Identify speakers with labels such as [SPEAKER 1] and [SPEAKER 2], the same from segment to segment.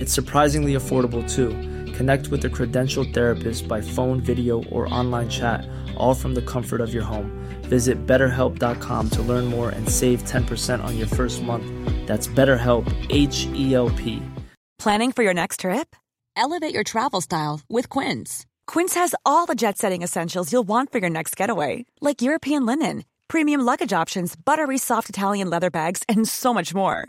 [SPEAKER 1] It's surprisingly affordable too. Connect with a credentialed therapist by phone, video, or online chat, all from the comfort of your home. Visit betterhelp.com to learn more and save 10% on your first month. That's BetterHelp, H E L P.
[SPEAKER 2] Planning for your next trip? Elevate your travel style with Quince. Quince has all the jet setting essentials you'll want for your next getaway, like European linen, premium luggage options, buttery soft Italian leather bags, and so much more.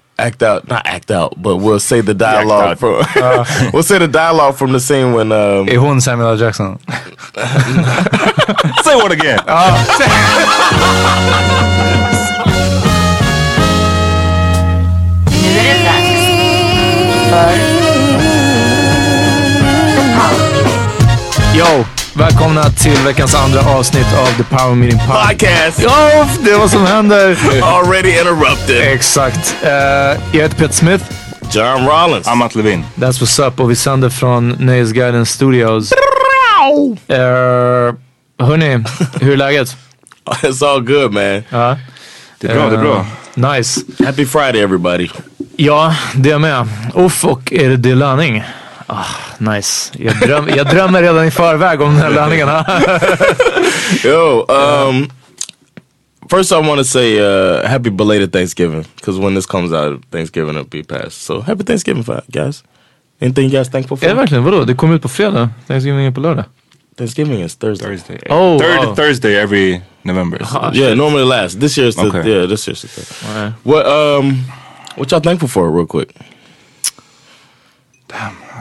[SPEAKER 3] act out, not act out, but we'll say the dialogue from we'll say the dialogue from the scene when um,
[SPEAKER 4] Är hon Samuel L. Jackson?
[SPEAKER 5] Say one again!
[SPEAKER 6] Nu är det dags för The Power Meeting.
[SPEAKER 4] Yo! Välkomna till veckans andra avsnitt av The Power Meeting Podcast.
[SPEAKER 3] podcast
[SPEAKER 4] Ja, det är vad som händer.
[SPEAKER 3] already interrupted.
[SPEAKER 4] Exakt. Eh, jag heter Peter Smith.
[SPEAKER 3] John Rollins.
[SPEAKER 5] Amat Levin.
[SPEAKER 4] That's what's up. Och vi sänder från Nöjesguiden Studios. Uh, hörni, hur är läget?
[SPEAKER 3] It's all good, man.
[SPEAKER 4] Ja.
[SPEAKER 5] Det är bra, det är bra.
[SPEAKER 4] Eh, nice.
[SPEAKER 3] Happy Friday, everybody.
[SPEAKER 4] Ja, det är med. Uff, och är det, det är löning? Ah, nice. Jag, dröm, jag drömmer redan i förväg om den här löningen.
[SPEAKER 3] Yo, um, first I want to say uh, happy belated Thanksgiving because when this comes out, Thanksgiving will be past. So happy Thanksgiving, fi- guys. Anything you guys thankful for?
[SPEAKER 4] är det verkligen? Vadå? Det kommer ut på fredag. Thanksgiving är på lördag.
[SPEAKER 3] Thanksgiving is Thursday.
[SPEAKER 4] Oh,
[SPEAKER 5] Third
[SPEAKER 4] wow.
[SPEAKER 5] Thursday every November.
[SPEAKER 3] Yeah, normally last. This year's the
[SPEAKER 5] Okay.
[SPEAKER 3] yeah. This year's the third. What um, what y'all thankful for, real quick?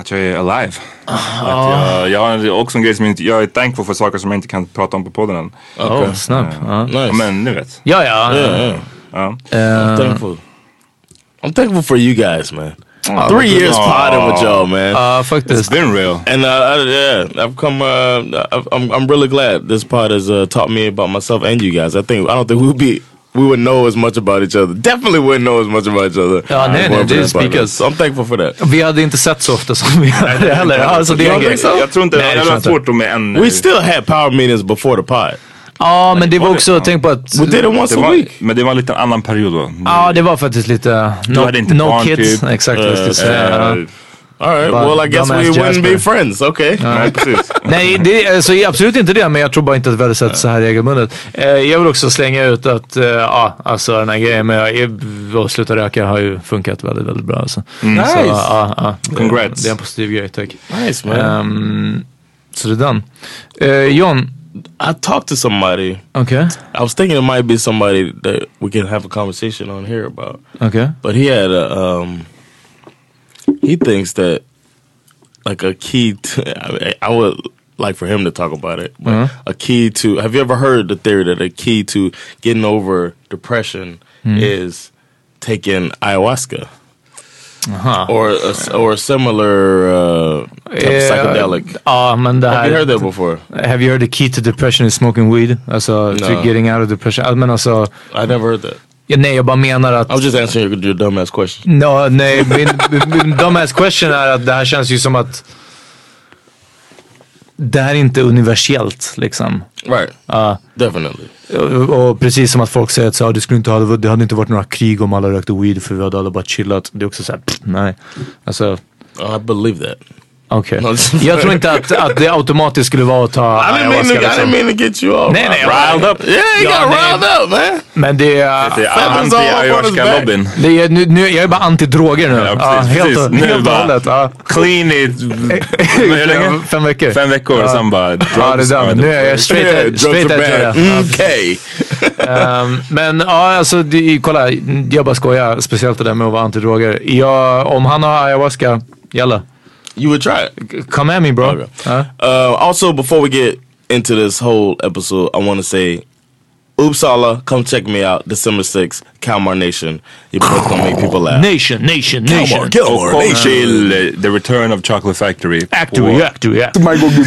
[SPEAKER 5] Att jag är alive.
[SPEAKER 4] Ah.
[SPEAKER 5] Att jag, jag har också en grej som jag inte, jag är thankful för saker som jag inte kan prata om på podden än. eh,
[SPEAKER 4] Oh, snabb. Ja,
[SPEAKER 3] Nice.
[SPEAKER 5] Men nu vet.
[SPEAKER 4] ja. ja.
[SPEAKER 3] Yeah,
[SPEAKER 5] Ja.
[SPEAKER 3] yeah. I'm thankful. I'm thankful for you guys, man.
[SPEAKER 4] Ah,
[SPEAKER 3] Three
[SPEAKER 5] good.
[SPEAKER 3] years potting with y'all, man.
[SPEAKER 4] Ja, faktiskt.
[SPEAKER 5] Ah. It's been real.
[SPEAKER 3] And uh, I, yeah, I've come. Uh, I've, I'm I'm really glad this pod has uh, taught me about myself and you guys. I think I don't think we'll be we would know as much about each other. Definitely wouldn't know as much about each other.
[SPEAKER 4] Ja, nej, nej,
[SPEAKER 3] going for
[SPEAKER 4] det
[SPEAKER 3] this podcast.
[SPEAKER 4] speakers.
[SPEAKER 3] So I'm thankful for that.
[SPEAKER 4] Vi hade inte sett så ofta som vi gör det heller. Alltså, det är
[SPEAKER 5] Jag,
[SPEAKER 4] en grej.
[SPEAKER 5] jag tror inte,
[SPEAKER 4] Nej,
[SPEAKER 5] det
[SPEAKER 4] det
[SPEAKER 5] hade varit
[SPEAKER 4] tror jag
[SPEAKER 5] svårt
[SPEAKER 4] inte.
[SPEAKER 5] då med en...
[SPEAKER 3] We still had power meetings before the pod.
[SPEAKER 4] Ja, men det var
[SPEAKER 5] var det?
[SPEAKER 4] också,
[SPEAKER 5] Ja.
[SPEAKER 4] tänk på att...
[SPEAKER 3] We did it once
[SPEAKER 5] Det
[SPEAKER 3] a
[SPEAKER 5] var,
[SPEAKER 3] week.
[SPEAKER 5] men det var en liten annan period då.
[SPEAKER 4] Ja, det var faktiskt lite... No,
[SPEAKER 5] hade inte
[SPEAKER 4] no
[SPEAKER 5] barn,
[SPEAKER 4] kids.
[SPEAKER 5] typ.
[SPEAKER 4] Exakt, jag skulle
[SPEAKER 3] Eh,
[SPEAKER 4] säga.
[SPEAKER 3] eh, All right,
[SPEAKER 4] Bara
[SPEAKER 3] well I guess we
[SPEAKER 4] Uh, dumbass
[SPEAKER 3] wouldn't
[SPEAKER 4] Jasper.
[SPEAKER 3] be friends. Okay.
[SPEAKER 5] Nej, precis.
[SPEAKER 4] Nej, det, alltså, absolut inte det, men jag tror bara inte att vi hade sett så här regelbundet. Eh, jag vill också slänga ut att eh, ja, alltså, den här grejen med att sluta röka har ju funkat väldigt, väldigt bra. Alltså. Så,
[SPEAKER 3] Nice.
[SPEAKER 4] ja, ja, det-
[SPEAKER 5] Mm. Congrats.
[SPEAKER 4] Det är en positiv grej, tack.
[SPEAKER 3] Nice man.
[SPEAKER 4] Ehm, så det är den. Eh, John,
[SPEAKER 3] I talked to somebody.
[SPEAKER 4] okej.
[SPEAKER 3] I was thinking it might be somebody that we can have a conversation on here about.
[SPEAKER 4] okej.
[SPEAKER 3] But he had a, um, he thinks that like a key. To, I, mean, I would like for him to talk about it. But A key to have you ever heard the theory that a key to getting over depression is taking ayahuasca or a, s- or a similar uh, type of
[SPEAKER 4] Eh,
[SPEAKER 3] psychedelic?
[SPEAKER 4] Ja, men det här...
[SPEAKER 3] have you heard that before?
[SPEAKER 4] Have you heard the key to depression is smoking weed? Alltså,
[SPEAKER 3] No.
[SPEAKER 4] to getting out of depression. Ja, Men alltså,
[SPEAKER 3] I never heard that.
[SPEAKER 4] ja, nej jag bara menar att...
[SPEAKER 3] I was just answering your, your dumbass question.
[SPEAKER 4] Ja, nej, min, min dumbass question är att det här känns ju som att det här är inte universellt liksom.
[SPEAKER 3] Right. Uh, Definitely.
[SPEAKER 4] Och, och precis som att folk säger att så, "Ah, det, skulle inte ha, det hade inte varit några krig om alla rökte weed för vi hade alla bara chillat. Det är också såhär, nej. Alltså,
[SPEAKER 3] I believe that.
[SPEAKER 4] okej.
[SPEAKER 3] No, just-
[SPEAKER 4] Jag tror inte att, att det automatiskt skulle vara att ta
[SPEAKER 3] I didn't, mean
[SPEAKER 4] ayahuasca,
[SPEAKER 3] to, I didn't
[SPEAKER 4] liksom.
[SPEAKER 3] mean to get you all
[SPEAKER 4] Nej, nej,
[SPEAKER 3] riled up. Yeah, he
[SPEAKER 4] Ja,
[SPEAKER 3] got
[SPEAKER 4] nej.
[SPEAKER 3] riled up man.
[SPEAKER 4] Men det är...
[SPEAKER 5] Det är
[SPEAKER 3] Feathers all up on his
[SPEAKER 5] anti-ayahuasca-lobbyn.
[SPEAKER 4] Det är nu, nu, jag är bara anti-droger nu.
[SPEAKER 5] Ja, precis,
[SPEAKER 4] helt
[SPEAKER 5] precis.
[SPEAKER 4] och-
[SPEAKER 5] Nu
[SPEAKER 4] helt och
[SPEAKER 5] bara-
[SPEAKER 4] hållet. Ja.
[SPEAKER 5] Clean it. Hur länge?
[SPEAKER 4] Fem veckor.
[SPEAKER 5] Fem veckor och sen bara drugs.
[SPEAKER 4] Ja, det är
[SPEAKER 5] are
[SPEAKER 4] den.
[SPEAKER 5] the-
[SPEAKER 4] Nu är jag straight
[SPEAKER 3] Yeah,
[SPEAKER 4] edge. Straight edge är jag.
[SPEAKER 3] Mm, Okay.
[SPEAKER 4] Ehm, men ja, alltså det, kolla. Jag bara skojar. Speciellt det där med att vara antidroger. Jag, om han har ayahuasca, jalla.
[SPEAKER 3] You would try it.
[SPEAKER 4] Come at me bro.
[SPEAKER 3] Okay.
[SPEAKER 4] Ja.
[SPEAKER 3] Uh, also, before we get into this whole episode, I want to say, Oopsala, come check me out December 6th, Calmar Nation. Your boy's gonna make people laugh.
[SPEAKER 4] Nation, nation, nation.
[SPEAKER 5] Och kom till eh, The Return of Chocolate Factory
[SPEAKER 4] Actory, actory, act.
[SPEAKER 5] på,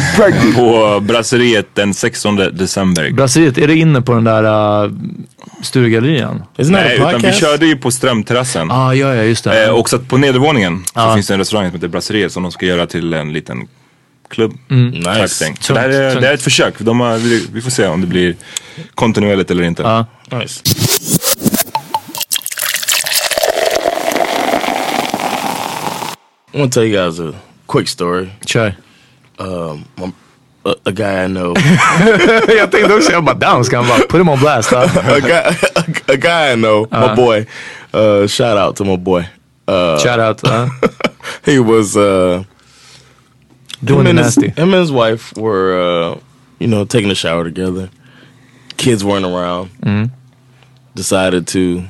[SPEAKER 5] på Brasseriet den 16 december.
[SPEAKER 4] Brasseriet, är det inne på den där uh, Sturegallerian?
[SPEAKER 3] Isn't that
[SPEAKER 5] Nej,
[SPEAKER 3] a
[SPEAKER 5] utan vi
[SPEAKER 3] podcast?
[SPEAKER 5] körde ju på Strömterrassen.
[SPEAKER 4] Ja, ah, ja, ja, just det.
[SPEAKER 5] Eh, och så att på nedervåningen så
[SPEAKER 4] Ja.
[SPEAKER 5] finns det en restaurang som heter Brasseriet som de ska göra till en liten klubb.
[SPEAKER 4] Mm,
[SPEAKER 3] Nice.
[SPEAKER 5] Nice. Det, här är,
[SPEAKER 4] Tungt,
[SPEAKER 5] det här är ett försök. De har, vi, vi får se om det blir kontinuerligt eller inte.
[SPEAKER 4] Ja.
[SPEAKER 3] Nice. I want to tell you guys a quick story.
[SPEAKER 4] Kör.
[SPEAKER 3] A, a guy I know.
[SPEAKER 4] jag tänkte också, jag bara down ska han bara put him on blast. va?
[SPEAKER 3] a guy, a, guy I know, my boy. Uh, shout out to my boy.
[SPEAKER 4] Shout out. Uh,
[SPEAKER 3] He was uh,
[SPEAKER 4] doing the
[SPEAKER 3] him, and his,
[SPEAKER 4] nasty.
[SPEAKER 3] him and his wife were, uh, you know, taking a shower together. Kids weren't around. Decided to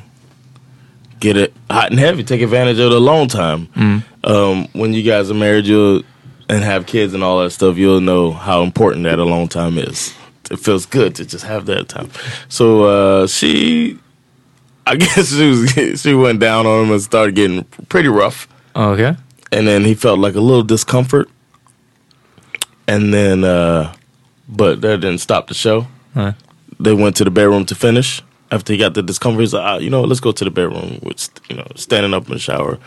[SPEAKER 3] get it hot and heavy. Take advantage of the alone time. Um, when you guys are married, you'll and have kids and all that stuff. You'll know how important that alone time is. It feels good to just have that time. So uh, she, I guess she was she went down on him and started getting pretty rough
[SPEAKER 4] Ah, Okej.
[SPEAKER 3] and then he felt like a little discomfort and then uh but that didn't stop the show
[SPEAKER 4] Nej.
[SPEAKER 3] they went to the bedroom to finish after he got the discomfort he's like ah, you know what, let's go to the bedroom with you know standing up in the shower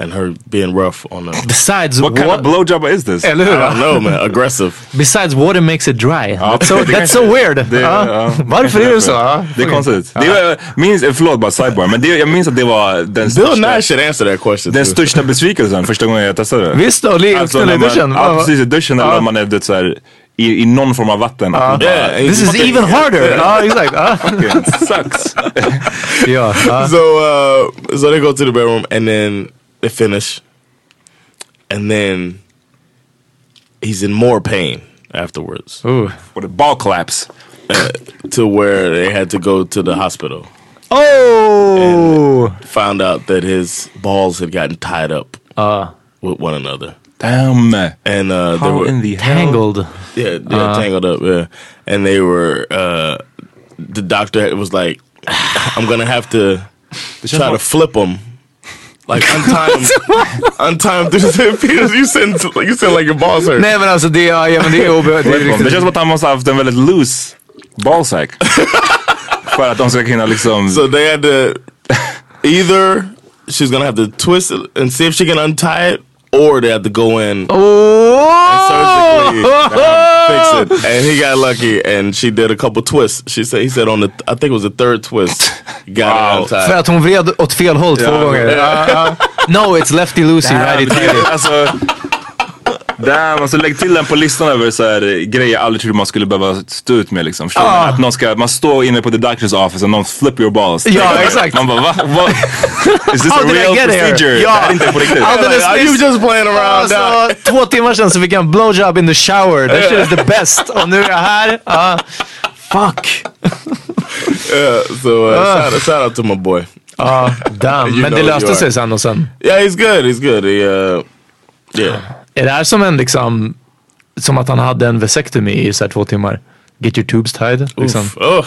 [SPEAKER 3] and her being rough on the
[SPEAKER 4] Besides
[SPEAKER 5] What kind of blowjob is this?
[SPEAKER 4] Eller hur?
[SPEAKER 3] I don't know man aggressive
[SPEAKER 4] Ah. Besides water makes it dry.
[SPEAKER 5] Ja,
[SPEAKER 4] that's, so,
[SPEAKER 5] det
[SPEAKER 4] that's so weird.
[SPEAKER 5] Det,
[SPEAKER 4] Ja.
[SPEAKER 5] ja.
[SPEAKER 4] Varför är det så? Ah, Ja.
[SPEAKER 5] Det är konstigt. Det var, jag minns, eh, förlåt bara sidebar, men det, jag minns att det var den
[SPEAKER 3] Bill
[SPEAKER 5] största,
[SPEAKER 3] Nye should answer that question
[SPEAKER 5] den
[SPEAKER 3] too.
[SPEAKER 5] största besvikelsen första gången jag testade det.
[SPEAKER 4] Typ. Visst då, ligga
[SPEAKER 5] Alltså,
[SPEAKER 4] alltså,
[SPEAKER 5] när
[SPEAKER 4] i
[SPEAKER 5] man-
[SPEAKER 4] duschen.
[SPEAKER 5] Ja,
[SPEAKER 4] Ja.
[SPEAKER 5] precis. I duschen eller om man är du vet, så här, i, i någon form av vatten. Att man
[SPEAKER 3] Yeah,
[SPEAKER 4] This is even harder. Ja, exakt. Ja.
[SPEAKER 5] bara, "Fuck, it sucks.
[SPEAKER 4] Ja, ah. ja.
[SPEAKER 3] so uh so they go to the bedroom and then they finish and then he's in more pain afterwards
[SPEAKER 4] Ooh.
[SPEAKER 5] Och det ball claps.
[SPEAKER 3] to where they had to go to the hospital.
[SPEAKER 4] Oh!
[SPEAKER 3] Found out that his balls had gotten tied up
[SPEAKER 4] Ja.
[SPEAKER 3] with one another,
[SPEAKER 5] Damn.
[SPEAKER 3] and uh, they
[SPEAKER 5] How
[SPEAKER 3] were
[SPEAKER 5] in the hell?
[SPEAKER 4] Tangled.
[SPEAKER 3] yeah, they were tangled up. Yeah, and they were. Uh, the doctor was like, "Ah, "I'm gonna have to try to flip him." Like untie him, untie him through the penis. You send, you send like your balls hurt.
[SPEAKER 4] Nej men alltså det, ja, ja, men det är obe- det är
[SPEAKER 5] Det känns
[SPEAKER 4] riktigt.
[SPEAKER 5] som att han måste ha haft en väldigt loose ballsack. För att de ska kunna liksom...
[SPEAKER 3] So they had to either she's gonna have to twist it and see if she can untie it, or they had to go in
[SPEAKER 4] Oh!
[SPEAKER 3] surgically. fix it. And he got lucky, and she did a couple twists. She said he said on the I think it was the third twist, got it on
[SPEAKER 4] För
[SPEAKER 3] time.
[SPEAKER 4] att hon vred åt fel håll två
[SPEAKER 3] Ja.
[SPEAKER 4] gånger. Ah, Ja, ja. No, it's lefty loosey, righty tighty.
[SPEAKER 5] alltså, damn, alltså lägg till den på listan över så här, eh, grejer jag aldrig trodde man skulle behöva stå ut med. Liksom. Förstår
[SPEAKER 4] Ah.
[SPEAKER 5] du? Att någon ska, man står inne på the doctor's office och någon flip your balls.
[SPEAKER 4] Ja, exakt.
[SPEAKER 5] Man bara va? va? Is this
[SPEAKER 4] How
[SPEAKER 5] a
[SPEAKER 4] did I
[SPEAKER 5] real
[SPEAKER 4] get here?
[SPEAKER 5] procedure?
[SPEAKER 4] Ja.
[SPEAKER 5] Det här är inte på riktigt.
[SPEAKER 4] Alldeles
[SPEAKER 3] Are you
[SPEAKER 4] nyss-
[SPEAKER 3] just playing around? doc?
[SPEAKER 4] Alltså, två timmar sedan så fick jag en blowjob in the shower. That shit is the best. Och nu är jag här. Ja. fuck.
[SPEAKER 3] Yeah, so uh, shout, out, shout out to my boy.
[SPEAKER 4] Ja, damn.
[SPEAKER 3] You
[SPEAKER 4] Men det
[SPEAKER 3] know you
[SPEAKER 4] löste
[SPEAKER 3] are.
[SPEAKER 4] sig sen och sen.
[SPEAKER 3] Yeah, he's good. He's good. He, uh, yeah.
[SPEAKER 4] Är det här som en liksom, som att han hade en vasectomy i så här två timmar? Get your tubes tied? Liksom.
[SPEAKER 3] Oof. Ugh.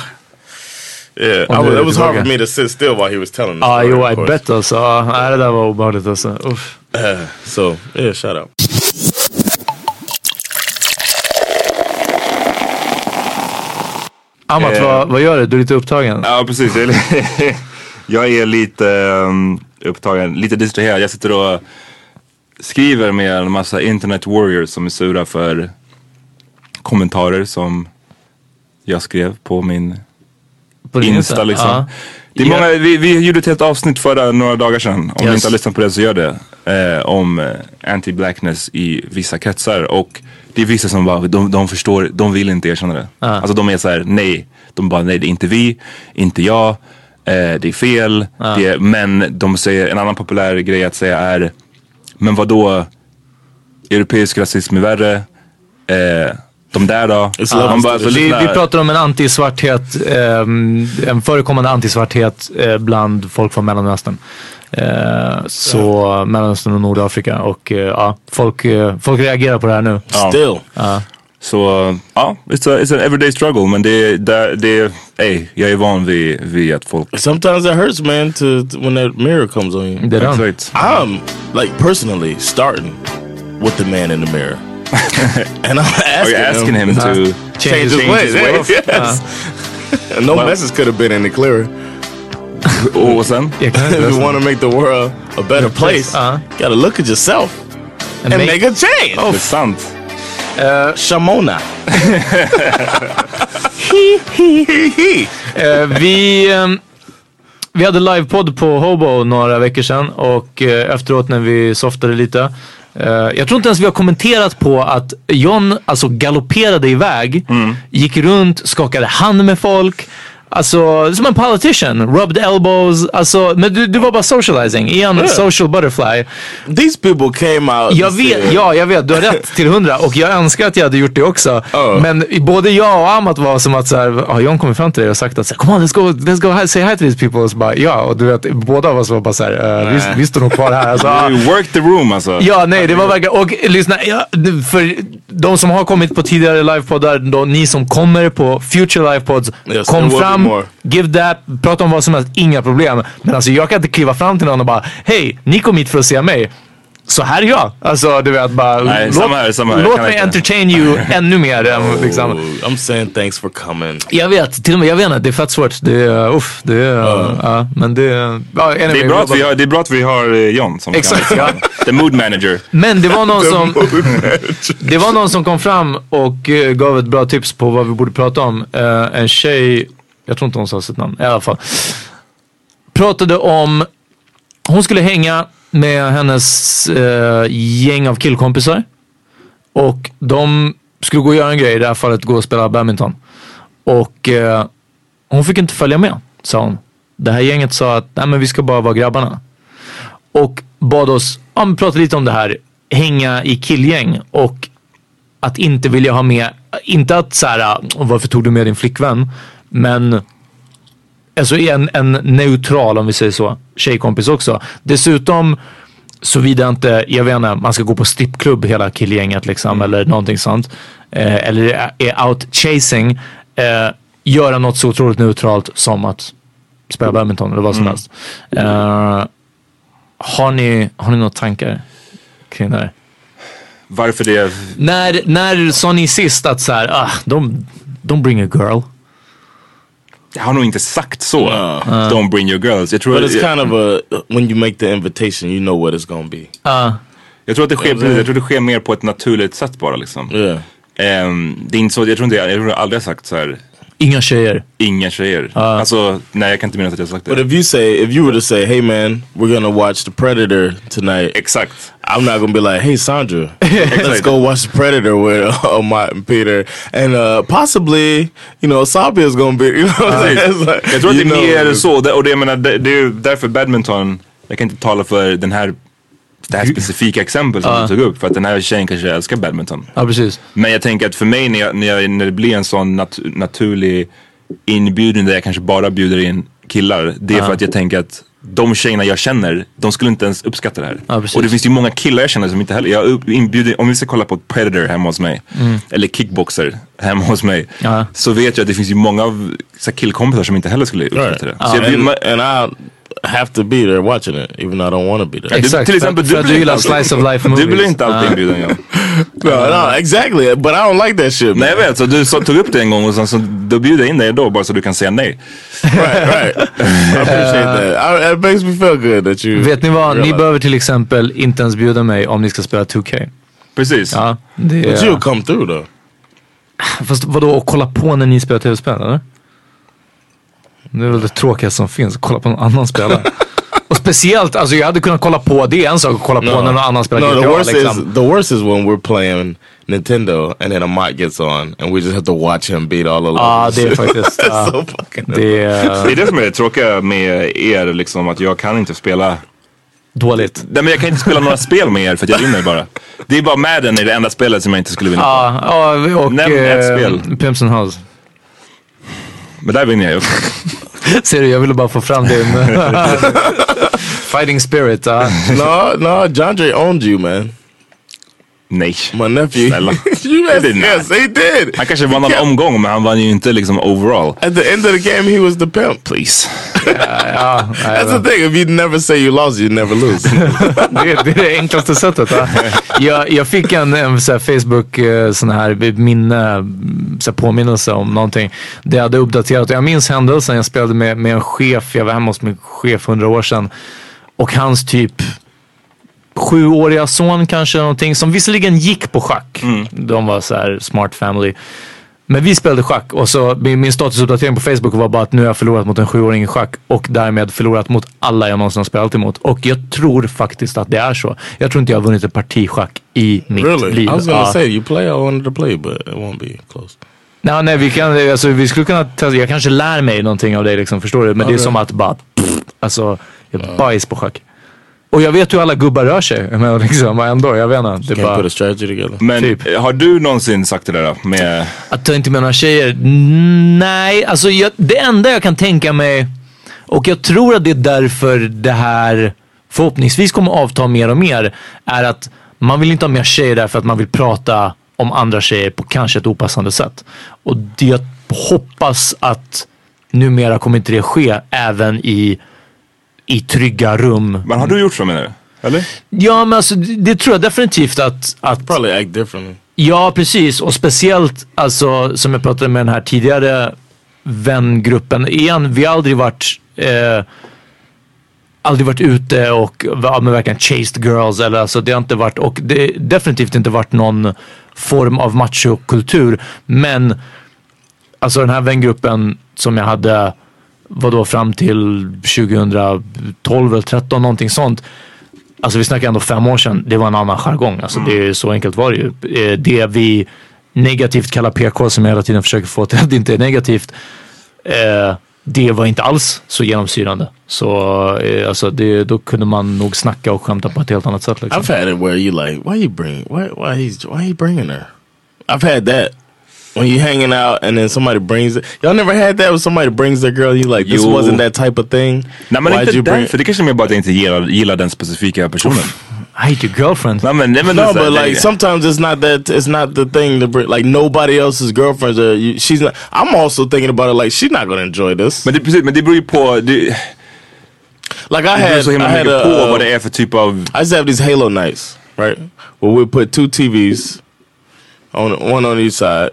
[SPEAKER 3] Yeah, I
[SPEAKER 4] On
[SPEAKER 3] was,
[SPEAKER 4] the-
[SPEAKER 3] it was
[SPEAKER 4] the
[SPEAKER 3] hard
[SPEAKER 4] dog.
[SPEAKER 3] for me to sit still while he was telling. the
[SPEAKER 4] Ja,
[SPEAKER 3] story,
[SPEAKER 4] jo,
[SPEAKER 3] of
[SPEAKER 4] Ah, I
[SPEAKER 3] course.
[SPEAKER 4] bet alltså. Ja, nej, det där var obehagligt alltså. Uff.
[SPEAKER 3] So yeah, shout out.
[SPEAKER 4] Amat,
[SPEAKER 5] Eh.
[SPEAKER 4] vad, vad gör du? Du är lite upptagen.
[SPEAKER 5] Ja precis. Jag är- Jag är lite ehm, upptagen, lite distraherad. Jag sitter och skriver med en massa internet warriors som är sura för kommentarer som jag skrev på min
[SPEAKER 4] På din Ah.
[SPEAKER 5] Insta liksom.
[SPEAKER 4] Ja.
[SPEAKER 5] Det är
[SPEAKER 4] Ja.
[SPEAKER 5] många, vi, vi gjorde ett helt avsnitt förra några dagar sedan. Om ni
[SPEAKER 4] Yes.
[SPEAKER 5] inte har lyssnat på det så gör det. Eh, om eh, anti-blackness i vissa kretsar. Och det är vissa som bara, de, de förstår, de vill inte erkänna det. Alltså de är så här, nej. De bara, nej det är inte vi, inte jag, eh, det är fel. Det är, men de säger, en annan populär grej att säga är, men vad då europeisk rasism är värre. Eh, de där då? Man bara, alltså,
[SPEAKER 4] vi,
[SPEAKER 5] lyssna.
[SPEAKER 4] vi pratar om en antisvarthet, ehm, en förekommande antisvarthet eh, bland folk från Mellanöstern. Eh, så Mellanöstern och Nordafrika och eh, ja, folk, eh, folk reagerar på det här nu.
[SPEAKER 5] Ja.
[SPEAKER 3] Still,
[SPEAKER 4] uh,
[SPEAKER 5] Så ja, it's, a, it's an everyday struggle men det, det, det ey, jag är van vid, vid att folk...
[SPEAKER 3] sometimes it hurts, man. To, to- when that mirror comes on you.
[SPEAKER 4] Det är den.
[SPEAKER 5] Exakt.
[SPEAKER 3] I'm like personally starting with the man in the mirror, and I'm
[SPEAKER 5] Are
[SPEAKER 3] Oh, asking,
[SPEAKER 5] you asking him to
[SPEAKER 3] change his ways. Yes. no message could have been any clearer.
[SPEAKER 5] Och och sen?
[SPEAKER 4] Jag kan inte
[SPEAKER 3] if you
[SPEAKER 4] läsa.
[SPEAKER 3] want to make the world a better place,
[SPEAKER 4] uh-huh.
[SPEAKER 3] gotta look at yourself and,
[SPEAKER 4] make-
[SPEAKER 3] make, a change.
[SPEAKER 5] Det är sant.
[SPEAKER 3] Shamona.
[SPEAKER 4] Eh, vi, ehm, vi hade livepodd på Hobo några veckor sedan och eh, efteråt när vi softade lite. eh, jag tror inte ens vi har kommenterat på att John alltså galopperade iväg, gick runt, skakade hand med folk. Alltså som en politician, rubbed elbows, alltså men du, du var bara socializing, igen social butterfly.
[SPEAKER 3] These people came out.
[SPEAKER 4] Jag
[SPEAKER 3] and
[SPEAKER 4] vet,
[SPEAKER 3] said-
[SPEAKER 4] ja jag vet, du har rätt till hundra och jag önskar att jag hade gjort det också.
[SPEAKER 3] Ja.
[SPEAKER 4] Men både jag och Amat var som att så här, ja, John kommer fram till dig och sagt att så här, come on let's go, let's go hi, say hi to these people. Och så bara, ja, och du vet, båda av oss var bara så här, eh, vi, vi står nog kvar här. Alltså, ja.
[SPEAKER 5] You work the room alltså.
[SPEAKER 4] Ja, nej, det var verkligen... Och lyssna, ja, för de som har kommit på tidigare livepoddar, de, ni som kommer på future livepods,
[SPEAKER 3] Yes, there
[SPEAKER 4] kom
[SPEAKER 3] will be
[SPEAKER 4] fram,
[SPEAKER 3] more.
[SPEAKER 4] give that, prata om vad som helst, inga problem. Men alltså jag kan inte kliva fram till någon och bara, hej, ni kom hit för att se mig. Så här är jag. Alltså du vet bara,
[SPEAKER 5] Nej,
[SPEAKER 4] låt,
[SPEAKER 5] samma här, samma här.
[SPEAKER 4] låt
[SPEAKER 5] Kan
[SPEAKER 4] mig
[SPEAKER 5] inte.
[SPEAKER 4] entertain you ännu mer. än, liksom.
[SPEAKER 3] Ooh, I'm saying thanks for coming.
[SPEAKER 4] Jag vet, till och med, jag vet inte, det är fett svårt. Det är, uff, det är, ja, men det är, ja, anyway,
[SPEAKER 5] Det är, bra att vi har, det är bra att vi har eh, John som
[SPEAKER 4] Exakt,
[SPEAKER 5] kan,
[SPEAKER 4] ja.
[SPEAKER 5] the mood manager.
[SPEAKER 4] Men det var någon som... Det var någon som kom fram och eh, gav ett bra tips på vad vi borde prata om. Eh, en tjej, jag tror inte hon sa sitt namn, i alla fall. Pratade om, hon skulle hänga med hennes eh, gäng av killkompisar. Och de skulle gå och göra en grej, i det här fallet gå och spela badminton. Och eh, hon fick inte följa med, sa hon. Det här gänget sa att Nej, men vi ska bara vara grabbarna och bad oss ja, men prata lite om det här, hänga i killgäng och att inte vilja ha med, inte att så här, "Åh, varför tog du med din flickvän? Men alltså en, en neutral, om vi säger så, tjejkompis också. Dessutom, såvida inte, jag vet inte, man ska gå på strippklubb hela killgänget liksom eller någonting sånt. Eh, eller är- är out chasing. Eh, göra något så otroligt neutralt som att spela badminton eller vad som helst. Eh, har ni, har ni några tankar kring det här?
[SPEAKER 5] Varför det?
[SPEAKER 4] När, när sa ni sist att så här, ah, de, de bring a girl?
[SPEAKER 5] Jag har nog inte sagt så. Don't bring your girls. Jag tror,
[SPEAKER 3] But it's
[SPEAKER 5] jag,
[SPEAKER 3] kind of a when you make the invitation, you know what it's gonna be.
[SPEAKER 5] jag tror att det sker, precis, jag tror det sker mer på ett naturligt sätt bara liksom.
[SPEAKER 3] Yeah.
[SPEAKER 5] Ehm, det är inte så, jag tror inte jag, jag tror aldrig jag sagt så här.
[SPEAKER 4] Inga tjejer.
[SPEAKER 5] Inga tjejer. Alltså, nej jag kan inte minnas att jag sagt det.
[SPEAKER 3] But if you say, if you were to say, hey man, we're gonna watch The Predator tonight,
[SPEAKER 5] Exakt.
[SPEAKER 3] I'm not gonna be like, hey Sandra, let's
[SPEAKER 5] Exakt.
[SPEAKER 3] go watch The Predator with uh, Martin and Peter, and uh, possibly, you know, Sabia's gonna be, you know, what I'm saying? Uh-huh. It's like,
[SPEAKER 5] Jag tror att
[SPEAKER 3] you
[SPEAKER 5] det är mer
[SPEAKER 3] know,
[SPEAKER 5] så. Och det- Och det, jag menar, det, det är ju därför badminton, jag kan inte tala för den här, det här specifika exempel som
[SPEAKER 4] Ja.
[SPEAKER 5] du tog upp. För att den här tjejen kanske älskar badminton.
[SPEAKER 4] Ja, precis.
[SPEAKER 5] Men jag tänker att för mig när, jag, när, jag, när det blir en sån nat- naturlig inbjudan där jag kanske bara bjuder in killar. Det är för att jag tänker att de tjejerna jag känner, de skulle inte ens uppskatta det här.
[SPEAKER 4] Ja, precis.
[SPEAKER 5] och det finns ju många killar jag känner som inte heller, jag upp- inbjuder, om vi ska kolla på Predator hemma hos mig, eller kickboxer hemma hos mig,
[SPEAKER 4] Mm. Ja.
[SPEAKER 5] så vet jag att det finns ju många av så här, killkompisar som inte heller skulle uppskatta det. Så jag blir,
[SPEAKER 3] and,
[SPEAKER 5] ma-
[SPEAKER 3] and I have to be there watching it, even though I don't want to be there.
[SPEAKER 5] du,
[SPEAKER 4] Exakt,
[SPEAKER 5] till exempel, du
[SPEAKER 4] för- för att
[SPEAKER 5] blir
[SPEAKER 4] du gillar
[SPEAKER 5] inte alltid-
[SPEAKER 4] slice of life
[SPEAKER 5] Du blir
[SPEAKER 4] movies.
[SPEAKER 5] inte alltid
[SPEAKER 4] Ja.
[SPEAKER 5] inbjuden. Ja.
[SPEAKER 3] No, no, exactly. But I don't like that shit.
[SPEAKER 5] Nej jag
[SPEAKER 3] Man.
[SPEAKER 5] vet, så du så, tog upp det en gång och sen så då bjuder jag in dig då bara så du kan säga nej.
[SPEAKER 3] right, right. I appreciate that. I, it makes me feel good that you.
[SPEAKER 4] Vet ni vad? Ni
[SPEAKER 3] realize.
[SPEAKER 4] behöver till exempel inte ens bjuda mig om ni ska spela 2K.
[SPEAKER 5] Precis.
[SPEAKER 4] Ja, det
[SPEAKER 3] But
[SPEAKER 4] är...
[SPEAKER 3] you'll come through though.
[SPEAKER 4] Fast vadå, och kolla på när ni spelar tv-spel eller? Det är väl det tråkigaste som finns, kolla på någon annan spela. och speciellt, alltså jag hade kunnat kolla på, det är en sak att kolla på när någon annan spelar
[SPEAKER 3] no, the
[SPEAKER 4] GTA
[SPEAKER 3] worst
[SPEAKER 4] liksom.
[SPEAKER 3] is the worst is when we're playing Nintendo and then a mod gets on and we just have to watch him beat all the
[SPEAKER 4] Ja,
[SPEAKER 3] levels.
[SPEAKER 4] det är faktiskt... ja.
[SPEAKER 3] so Oh, fucking.
[SPEAKER 4] det är
[SPEAKER 5] Det är det som är det tråkiga med er, liksom, att jag kan inte spela.
[SPEAKER 4] dåligt.
[SPEAKER 5] Nej men jag kan inte spela några spel med er för att jag vinner bara. Det är bara Madden är det enda spelet som jag inte skulle vinna.
[SPEAKER 4] Ja, ja, och... eh,
[SPEAKER 5] Nämn ett spel.
[SPEAKER 4] Pimps and Hoes.
[SPEAKER 5] Men där vinner jag ju också.
[SPEAKER 4] Ser du, jag ville bara få fram din... Fighting spirit. ja.
[SPEAKER 3] no, no, Jandre owned you, man.
[SPEAKER 5] Nej.
[SPEAKER 3] My nephew.
[SPEAKER 5] Snälla.
[SPEAKER 3] you
[SPEAKER 5] He did not.
[SPEAKER 3] yes, he did.
[SPEAKER 5] Han kanske vann någon omgång men han vann ju inte liksom overall.
[SPEAKER 3] At the end of the game, he was the pimp.
[SPEAKER 5] Please.
[SPEAKER 3] That's the thing. If you never say you lost, you never lose.
[SPEAKER 4] det, är- det är det enklaste sättet. Va? Jag, jag fick en, en så här Facebook eh, sån här minne, så här påminnelse om någonting. Det jag hade uppdaterat. Jag minns händelsen. Jag spelade med, med en chef. Jag var hemma hos min chef hundra år sedan. Och hans typ sjuåriga son kanske någonting. Som visserligen gick på schack.
[SPEAKER 3] Mm.
[SPEAKER 4] De var så här smart family. Men vi spelade schack och så min, min statusuppdatering på Facebook var bara att nu har jag förlorat mot en sjuåring i schack och därmed förlorat mot alla jag någonsin har spelat emot. Och jag tror faktiskt att det är så. Jag tror inte jag har vunnit ett parti schack i mitt
[SPEAKER 3] really?
[SPEAKER 4] liv.
[SPEAKER 3] I was gonna
[SPEAKER 4] Ja.
[SPEAKER 3] say you play. I wanted to play, but it won't be close.
[SPEAKER 4] Nej, nej, vi, kan, alltså, vi skulle kunna testa. Jag kanske lär mig någonting av dig, liksom, förstår du? Men det är som att bara... Pff, alltså, jag är bajs på schack. Och jag vet hur alla gubbar rör sig. Men liksom, ändå, jag vet inte. Det är
[SPEAKER 3] Can't put
[SPEAKER 4] bara,
[SPEAKER 3] a strategy together.
[SPEAKER 5] Men
[SPEAKER 4] Typ.
[SPEAKER 5] eh, har du någonsin sagt det där då? Med...
[SPEAKER 4] Att jag inte med några tjejer? Nej, alltså jag, det enda jag kan tänka mig och jag tror att det är därför det här förhoppningsvis kommer avta mer och mer är att man vill inte ha mer tjejer därför att man vill prata om andra tjejer på kanske ett opassande sätt. Och det, jag hoppas att numera kommer inte det ske även i, i trygga rum.
[SPEAKER 5] Men har du gjort så menar du? Eller?
[SPEAKER 4] Ja, men alltså, det, det tror jag definitivt att, att
[SPEAKER 3] Probably act differently.
[SPEAKER 4] Ja, precis. Och speciellt alltså, som jag pratade med den här tidigare vängruppen. Igen, vi har aldrig varit, eh, aldrig varit ute och ja, men verkligen chased girls. Eller, alltså, det har inte varit, och det har definitivt inte varit någon form av machokultur. Men alltså den här vängruppen som jag hade vadå, fram till 2012 eller 13 någonting sånt. Alltså vi snackar ändå fem år sedan. Det var en annan jargong. Alltså det är ju så enkelt var det ju. Eh, Det vi negativt kallar PK som jag hela tiden försöker få till att det inte är negativt. Eh, det var inte alls så genomsyrande. Så eh, alltså det, då kunde man nog snacka och skämta på ett helt annat sätt. Liksom.
[SPEAKER 3] I've had it where you like, why you bring, why why he's why he bringing her? I've had that when you hanging out and then somebody brings it. Y'all never had that when somebody brings their girl. You like this
[SPEAKER 5] Yo.
[SPEAKER 3] wasn't that type of thing.
[SPEAKER 5] Nej men
[SPEAKER 3] Why'd
[SPEAKER 5] inte
[SPEAKER 3] you bring?
[SPEAKER 5] därför. Det kanske är mer bara att jag inte gillar, gillar den specifika personen.
[SPEAKER 4] I hate your girlfriend.
[SPEAKER 5] Nej men, nej, men
[SPEAKER 3] No,
[SPEAKER 5] det är så här,
[SPEAKER 3] but
[SPEAKER 5] det-
[SPEAKER 3] like sometimes it's not that it's not the thing to bring. Like nobody else's girlfriends are. You, she's not. I'm also thinking about it. Like she's not gonna enjoy this.
[SPEAKER 5] men, det, precis, men det beror ju på, det,
[SPEAKER 3] Like I
[SPEAKER 5] det beror
[SPEAKER 3] had,
[SPEAKER 5] så
[SPEAKER 3] I
[SPEAKER 5] himla
[SPEAKER 3] had
[SPEAKER 5] mycket
[SPEAKER 3] a.
[SPEAKER 5] på
[SPEAKER 3] uh,
[SPEAKER 5] vad det är för typ av
[SPEAKER 3] I used to have these Halo nights, right? Where we put two TVs on one on each side,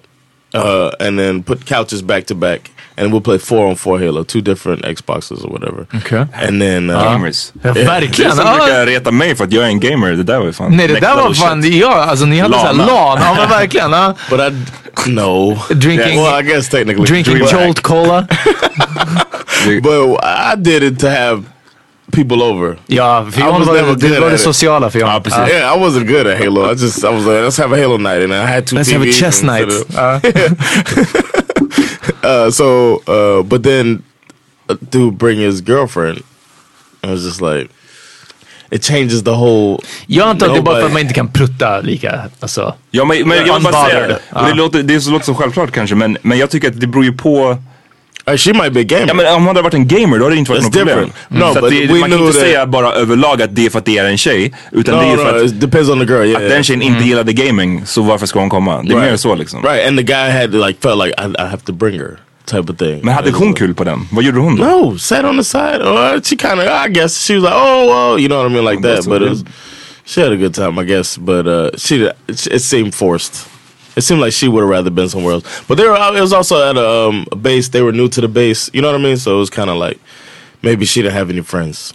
[SPEAKER 3] uh, and then put couches back to back, and we'll play four on four Halo, two different Xboxes or whatever.
[SPEAKER 4] Okej.
[SPEAKER 3] And then uh,
[SPEAKER 5] Gamers.
[SPEAKER 4] Ja, verkligen.
[SPEAKER 5] Det är som
[SPEAKER 4] Ja.
[SPEAKER 5] brukar reta mig för att jag är en gamer. Det där var ju fan
[SPEAKER 4] Nej det
[SPEAKER 5] next
[SPEAKER 4] där var
[SPEAKER 5] level
[SPEAKER 4] fan,
[SPEAKER 5] shit.
[SPEAKER 4] ja, alltså ni hade såhär
[SPEAKER 5] Lana.
[SPEAKER 4] LAN, ja men verkligen. Ja.
[SPEAKER 3] But I d- no
[SPEAKER 4] Drinking-
[SPEAKER 3] Well, I guess technically
[SPEAKER 4] Drinking
[SPEAKER 3] Dream-
[SPEAKER 4] Jolt Cola.
[SPEAKER 3] But I did it to have people over.
[SPEAKER 4] Ja, för
[SPEAKER 3] I
[SPEAKER 4] Johan
[SPEAKER 3] was
[SPEAKER 4] var,
[SPEAKER 3] never
[SPEAKER 4] det- det
[SPEAKER 3] good
[SPEAKER 4] var
[SPEAKER 3] at
[SPEAKER 4] det
[SPEAKER 3] it.
[SPEAKER 4] sociala för Johan. Ja.
[SPEAKER 3] Yeah, I wasn't good at Halo. I just I was like, let's have a Halo night, and I had two.
[SPEAKER 4] Let's have a
[SPEAKER 3] TVs
[SPEAKER 4] chess
[SPEAKER 3] instead of-
[SPEAKER 4] night. Ja.
[SPEAKER 3] Uh, so, uh, but then a dude bring his girlfriend. I was just like, it changes the whole.
[SPEAKER 4] Jag antar att det är bara för att
[SPEAKER 3] Nobody-
[SPEAKER 4] man inte kan prutta lika. Alltså.
[SPEAKER 5] Ja, men, men jag vill bara säga
[SPEAKER 4] Unbothered.
[SPEAKER 5] det. Och det, låter, det låter så självklart kanske, men, men jag tycker att det beror ju på
[SPEAKER 3] Uh, she might be a gamer.
[SPEAKER 5] Ja men om hon hade varit en gamer då hade det inte varit
[SPEAKER 3] It's
[SPEAKER 5] något problem. Mm.
[SPEAKER 3] different. No,
[SPEAKER 5] så att
[SPEAKER 3] but
[SPEAKER 5] det,
[SPEAKER 3] we
[SPEAKER 5] man kan
[SPEAKER 3] knew
[SPEAKER 5] inte
[SPEAKER 3] that-
[SPEAKER 5] säga bara överlag att det är för att det är en tjej. Utan det är ju
[SPEAKER 3] no, Oh, no,
[SPEAKER 5] för att,
[SPEAKER 3] it depends on the girl. Yeah,
[SPEAKER 5] att den tjejen
[SPEAKER 4] Mm.
[SPEAKER 5] inte gillade gaming, så varför ska hon komma? Det är mer så liksom.
[SPEAKER 3] Right, and the guy had like felt like I, I have to bring her type of thing.
[SPEAKER 5] Men hade
[SPEAKER 3] It was
[SPEAKER 5] hon
[SPEAKER 3] like-
[SPEAKER 5] kul på den? Vad gjorde hon då?
[SPEAKER 3] No, sat on the side. Or she kind of, I guess she was like, oh, oh, you know what I mean, like that.
[SPEAKER 5] That's
[SPEAKER 3] But
[SPEAKER 5] okay.
[SPEAKER 3] it was, she had a good time, I guess. But uh, she, it seemed forced. It seemed like she would have rather been somewhere else. But they were. It was also at a, um, a base. They were new to the base. You know what I mean? So it was kind of like maybe she didn't have any friends.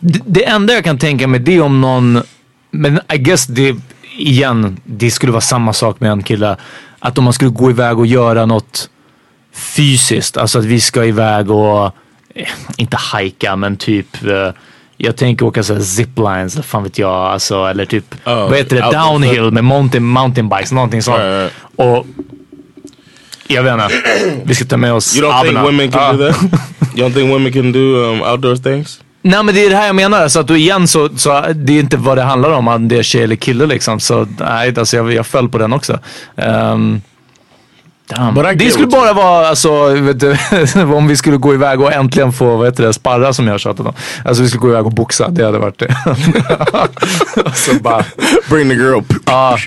[SPEAKER 4] Det, det enda jag kan tänka mig det är om någon, men I guess det, igen, det skulle vara samma sak med en kille. Att om man skulle gå iväg och göra något fysiskt, alltså att vi ska iväg och, eh, inte hajka men typ, eh, jag tänker åka såhär ziplines, eller fan vet jag, alltså, eller typ,
[SPEAKER 3] Oh,
[SPEAKER 4] vad heter det,
[SPEAKER 3] out-
[SPEAKER 4] downhill med mountain, mountainbikes, någonting sånt.
[SPEAKER 3] Right, right.
[SPEAKER 4] Och, jag vet inte, vi ska ta med oss
[SPEAKER 3] You don't
[SPEAKER 4] abborna.
[SPEAKER 3] think women can
[SPEAKER 4] Ja.
[SPEAKER 3] do that? you don't think women can do um, outdoor things?
[SPEAKER 4] Nej men det är det här jag menar. Så att du igen så, så det är inte vad det handlar om, om det är tjej eller kille liksom. Så nej, alltså jag, jag föll på den också. Ehm, damn.
[SPEAKER 3] But I
[SPEAKER 4] det
[SPEAKER 3] get
[SPEAKER 4] skulle
[SPEAKER 3] what you-
[SPEAKER 4] bara vara alltså, vet du, om vi skulle gå iväg och äntligen få, vad heter det, sparra som jag har tjatat om. Alltså vi skulle gå iväg och boxa, det hade varit det. alltså, bara,
[SPEAKER 3] Bring the girl.
[SPEAKER 4] ja.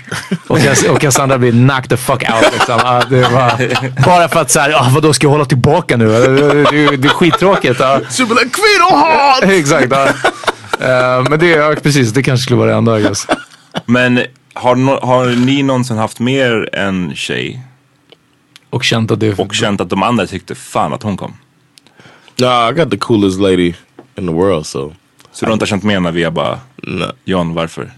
[SPEAKER 4] och, Cass- och Cassandra blir knocked the fuck out liksom. Ja, det var, bara för att såhär, ah, vadå ska jag hålla tillbaka nu? Det, det, det är skittråkigt. ja.
[SPEAKER 3] She'll be like, Quito hard.
[SPEAKER 4] Exakt. Ja. Eh, men det, ja, precis, det kanske skulle vara det enda. I guess.
[SPEAKER 5] Men har, no, har ni någonsin haft mer en tjej
[SPEAKER 4] Och känt att det är...
[SPEAKER 5] och känt att de andra tyckte fan att hon kom?
[SPEAKER 3] Nah, I got the coolest lady in the world. So
[SPEAKER 5] Så du har inte känt mer när vi har bara,
[SPEAKER 3] no.
[SPEAKER 5] John varför?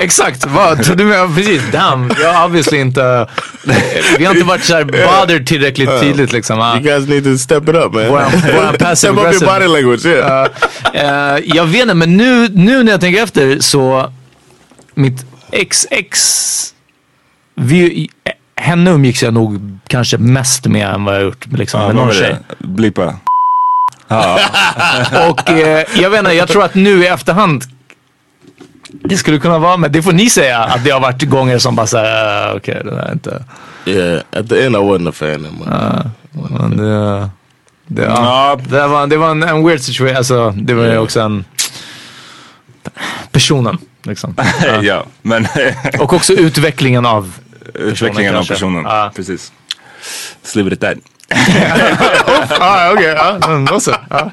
[SPEAKER 4] Exakt, vad trodde du menar? Precis, damn. Jag har obviously inte... Vi har inte varit såhär bothered tillräckligt tydligt liksom. Ah.
[SPEAKER 3] You guys need to step it up, man.
[SPEAKER 4] Well, well, passive
[SPEAKER 3] step up
[SPEAKER 4] aggressive.
[SPEAKER 3] your body language. Yeah.
[SPEAKER 4] Eh, jag vet inte, men nu, nu när jag tänker efter så... Mitt ex-ex... Vi, henne umgicks jag nog kanske mest med än vad jag gjort liksom, med någon tjej.
[SPEAKER 5] Blippa.
[SPEAKER 4] Och eh, jag vet inte, jag tror att nu i efterhand det skulle kunna vara, men det får ni säga att det har varit gånger som bara såhär, uh, okej det där är inte...
[SPEAKER 3] yeah. At the end, I wasn't a fan of mine.
[SPEAKER 4] Men det, det, ja.
[SPEAKER 5] Ja.
[SPEAKER 4] det där var, det var en, en weird situation, alltså det var ju också en... Personen, liksom.
[SPEAKER 5] ja, men
[SPEAKER 4] Och också utvecklingen av...
[SPEAKER 5] utvecklingen av
[SPEAKER 4] kanske.
[SPEAKER 5] personen.
[SPEAKER 4] Ja.
[SPEAKER 5] Precis. Let's leave it at that.
[SPEAKER 4] Ja, okej, ja, mm, då så. Ja.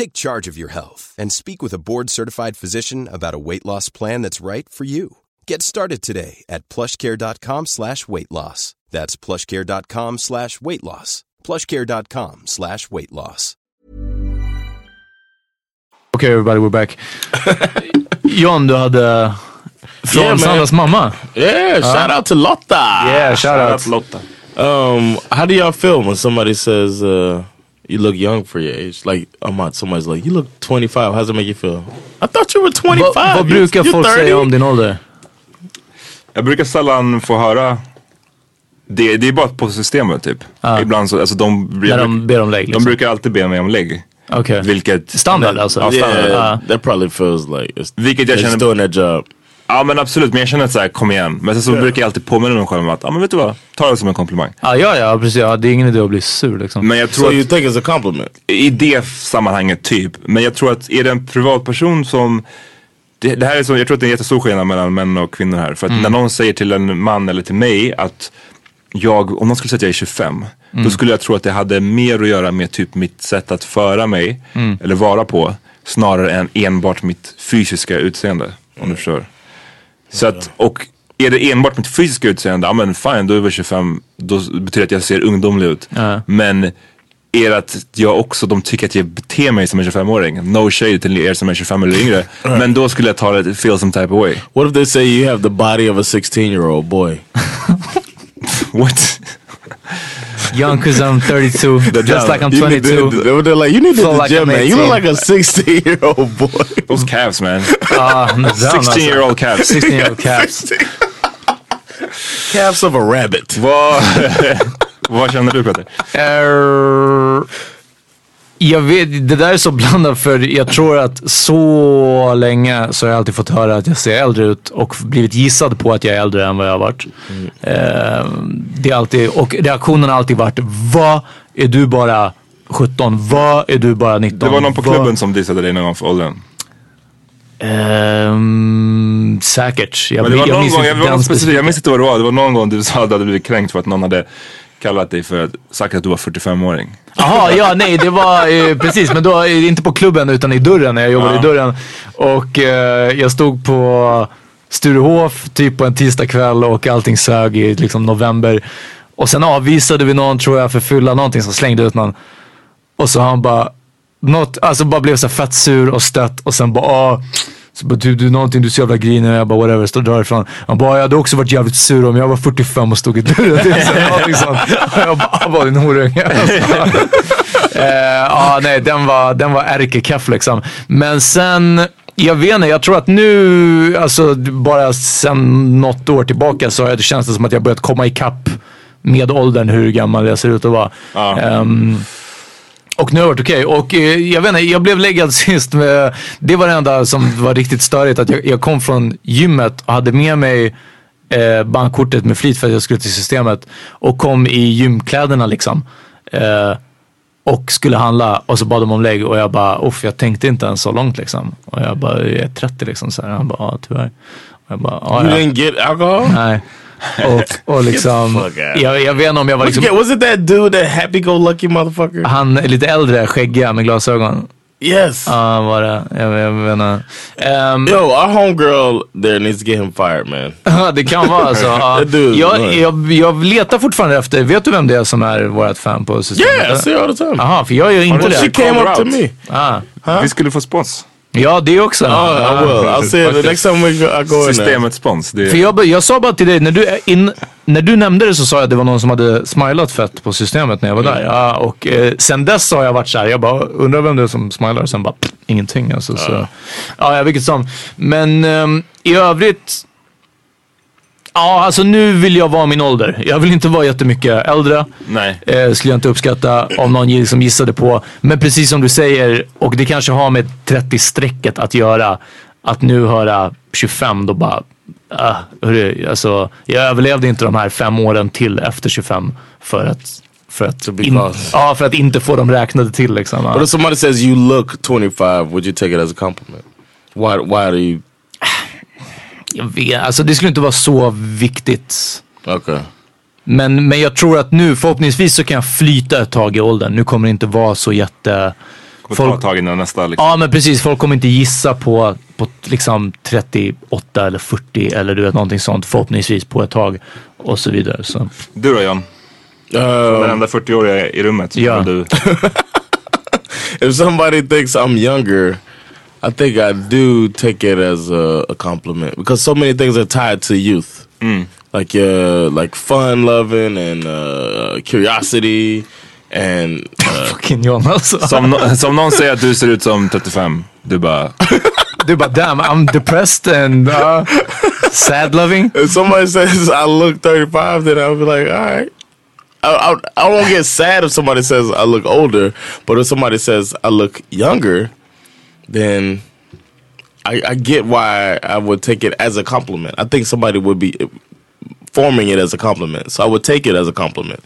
[SPEAKER 7] Take charge of your health and speak with a board-certified physician about a weight loss plan that's right for you. Get started today at plushcare.com slash weight loss. That's plushcare.com slash weight loss. plushcare.com slash weight loss.
[SPEAKER 4] Okay everybody, we're back. John, du hade från
[SPEAKER 3] Yeah, man.
[SPEAKER 4] Sandras mamma.
[SPEAKER 3] Yeah,
[SPEAKER 4] Ja.
[SPEAKER 3] shout out to Lotta.
[SPEAKER 4] Yeah, shout out.
[SPEAKER 3] Lotta. Um, how do y'all feel when somebody says uh, you look young for your age? Like, I'm not, somebody's like, you look 25. How's it make you feel? I thought you were 25.
[SPEAKER 4] Vad, vad
[SPEAKER 3] You-
[SPEAKER 4] brukar
[SPEAKER 3] you
[SPEAKER 4] folk
[SPEAKER 3] 30?
[SPEAKER 4] säga om din ålder?
[SPEAKER 5] Jag brukar sällan få höra det, det är bara på systemet typ. Ibland så, alltså de,
[SPEAKER 4] När de ber om lägg,
[SPEAKER 5] De
[SPEAKER 4] liksom.
[SPEAKER 5] brukar alltid be mig om lägg.
[SPEAKER 4] Okej.
[SPEAKER 5] Vilket...
[SPEAKER 4] Standard, alltså?
[SPEAKER 5] Ja, standard.
[SPEAKER 4] Yeah, Ah.
[SPEAKER 5] That probably feels like it's, Vilket jag
[SPEAKER 3] it's
[SPEAKER 5] känner...
[SPEAKER 3] doing their job.
[SPEAKER 5] Ja men absolut, men jag känner att så här, kom igen. Men sen så
[SPEAKER 4] Yeah.
[SPEAKER 5] brukar jag alltid påminna mig själv om att, ja men vet du vad, ta det som en komplimang.
[SPEAKER 4] Ah, ja, ja, precis. Ja, det är ingen idé att bli sur liksom.
[SPEAKER 5] Men jag tror att, you think it's a compliment? I det sammanhanget typ. Men jag tror att är det en privatperson som det, det här är så, jag tror att det är en jättestor skillnad mellan män och kvinnor här.
[SPEAKER 8] Mm.
[SPEAKER 5] För att när någon säger till en man eller till mig att jag, om någon skulle säga att jag är 25, då
[SPEAKER 8] Mm.
[SPEAKER 5] skulle jag tro att det hade mer att göra med typ mitt sätt att föra mig
[SPEAKER 8] Mm.
[SPEAKER 5] eller vara på snarare än enbart mitt fysiska utseende. Om du förstår. Så att, och är det enbart mitt fysiska utseende, ja men fine, då är jag väl 25, då betyder det att jag ser ungdomlig ut. Men är det att jag också, de tycker att jag beter mig som en 25-åring. No shade till er som är 25 eller yngre. Men då skulle jag ta det, feel some type of way.
[SPEAKER 3] What if they say you have the body of a 16 year old boy?
[SPEAKER 5] What?
[SPEAKER 4] Young cause I'm 32, just like I'm
[SPEAKER 3] You need to-
[SPEAKER 4] 22.
[SPEAKER 3] they were- they're like, you need to
[SPEAKER 4] Feel
[SPEAKER 3] the
[SPEAKER 4] like
[SPEAKER 3] gym,
[SPEAKER 4] I'm
[SPEAKER 3] man. You
[SPEAKER 4] 18.
[SPEAKER 3] look like a 16 year old boy.
[SPEAKER 5] Those calves, man.
[SPEAKER 4] Ah, damn, alltså.
[SPEAKER 3] 16 year old calves.
[SPEAKER 4] 16 year old calves.
[SPEAKER 3] calves of a rabbit.
[SPEAKER 5] Vad, vad känner du Peter?
[SPEAKER 4] Err, jag vet, det där är så blandat för jag tror att så länge så har jag alltid fått höra att jag ser äldre ut och blivit gissad på att jag är äldre än vad jag har varit. Ehm, det är alltid, och reaktionen har alltid varit Vad är du bara 17? Vad är du bara 19?
[SPEAKER 5] Det var någon på
[SPEAKER 4] Vad-
[SPEAKER 5] klubben som dissade dig någon gång för åldern.
[SPEAKER 4] Ehm, säkert. Jag,
[SPEAKER 5] men det
[SPEAKER 4] min-
[SPEAKER 5] var
[SPEAKER 4] jag
[SPEAKER 5] någon
[SPEAKER 4] minns
[SPEAKER 5] gång,
[SPEAKER 4] inte
[SPEAKER 5] jag, var
[SPEAKER 4] den
[SPEAKER 5] någon specifik,
[SPEAKER 4] specifika.
[SPEAKER 5] jag minns inte vad det var. Det var någon gång du sa att du hade blivit kränkt för att någon hade kallat dig för att, sagt att du var 45-åring.
[SPEAKER 4] Jaha, ja, nej, det var eh, precis. Men då, eh, inte på klubben utan i dörren när jag jobbade
[SPEAKER 5] Ja.
[SPEAKER 4] i dörren. Och eh, jag stod på Sturehof typ på en tisdagkväll och allting sög i liksom november. Och sen avvisade vi någon, tror jag, för fylla någonting som slängde ut någon. Och så han bara, något, alltså bara blev så här fett sur och stött och sen bara, ah, så bara, du, du någonting, du är så jävla grinig. Och jag bara, whatever, stå och drar ifrån. Han bara, jag hade också varit jävligt sur om jag var 45 och stod i dörren. Det är så här, någonting sånt. Och jag bara, ah, vad din horunge. Alltså. Eh, Ja, nej, den var, den var ärkekaff liksom. Men sen, jag vet inte, jag tror att nu, alltså bara sen något år tillbaka så har det känns det som att jag börjat komma ikapp med åldern hur gammal jag ser ut att vara. Ehm, och nu har det varit okej. Och eh, jag vet inte, jag blev läggad sist med, det var det enda som var riktigt störigt. Att jag, jag kom från gymmet och hade med mig eh, bankkortet med flit för att jag skulle till systemet. Och kom i gymkläderna liksom. Eh, och skulle handla och så bad de om lägg och jag bara, uff jag tänkte inte ens så långt liksom. Och jag bara, jag är 30 liksom. Så här. Han bara, ja tyvärr. Och jag bara, ja.
[SPEAKER 3] You
[SPEAKER 4] ja.
[SPEAKER 3] didn't get alcohol?
[SPEAKER 4] Nej. Och, och liksom,
[SPEAKER 3] Get the fuck out.
[SPEAKER 4] jag, jag vet inte om jag var
[SPEAKER 3] What you
[SPEAKER 4] liksom...
[SPEAKER 3] get? Was it that dude, that happy-go-lucky motherfucker?
[SPEAKER 4] Han är lite äldre, skäggiga med glasögon.
[SPEAKER 3] Yes.
[SPEAKER 4] Ja, var det. Jag, ehm, jag vet inte.
[SPEAKER 3] Yo, our homegirl there needs to get him fired man.
[SPEAKER 4] Ja, det kan vara så. Ja.
[SPEAKER 3] That dude,
[SPEAKER 4] jag,
[SPEAKER 3] man.
[SPEAKER 4] jag, jag letar fortfarande efter, vet du vem det är som är vårt fan på systemet?
[SPEAKER 3] Yeah, I see all the time.
[SPEAKER 4] Jaha, för jag gör inte
[SPEAKER 3] Well,
[SPEAKER 4] det.
[SPEAKER 3] she came up to me.
[SPEAKER 4] Ah.
[SPEAKER 5] Vi skulle få spons.
[SPEAKER 4] Ja, det också.
[SPEAKER 3] Oh, I will. I'll see it the next time we go, I go in there.
[SPEAKER 5] Systemets spons. Det
[SPEAKER 4] För jag, bör- jag sa bara till dig, när du, in, när du nämnde det så sa jag att det var någon som hade smilat fett på systemet när jag var där. Ja, och eh, sen dess har jag varit så här, jag bara undrar vem det är som smilar och sen bara pff, ingenting. Alltså, Så. Ja, ja, vilket som. Men ehm, i övrigt, ja alltså nu vill jag vara min ålder. Jag vill inte vara jättemycket äldre.
[SPEAKER 5] Nej.
[SPEAKER 4] Eh, skulle jag inte uppskatta om någon liksom gissade på. Men precis som du säger, och det kanske har med 30-strecket att göra. Att nu höra 25, då bara... ah, hörru, alltså, jag överlevde inte de här fem åren till efter 25 för att, för att, in,
[SPEAKER 3] class.
[SPEAKER 4] ja, för att inte få dem räknade till. Liksom, ja.
[SPEAKER 3] But if somebody says you look 25, would you take it as a compliment? Why, why do you...
[SPEAKER 4] Jag vet, alltså, det skulle inte vara så viktigt.
[SPEAKER 3] Okay.
[SPEAKER 4] Men, men jag tror att nu, förhoppningsvis så kan jag flyta ett tag i åldern. Nu kommer det inte vara så jätte...
[SPEAKER 5] kommer ta ett tag innan nästa liksom.
[SPEAKER 4] Ja men precis, folk kommer inte gissa på, på liksom 38 eller 40 eller du vet någonting sånt förhoppningsvis på ett tag och så vidare. Så.
[SPEAKER 5] Du då John? Som den enda 40-åriga i rummet så
[SPEAKER 4] Ja.
[SPEAKER 5] är du.
[SPEAKER 3] if somebody thinks I'm younger, I think I do take it as a, a compliment because so many things are tied to youth, like uh, like fun loving and uh, curiosity and uh,
[SPEAKER 4] fucking alltså. Jonas.
[SPEAKER 5] Som, no- som någon säger att du ser ut som 35. Du bara...
[SPEAKER 4] Du bara damn I'm depressed and uh, sad loving.
[SPEAKER 3] If somebody says I look 35, then I'll be like, all right. I, I, I won't get sad if somebody says I look older, but if somebody says I look younger, then I, I get why I would take it as a compliment. I think somebody would be forming it as a compliment, so I would take it as a compliment.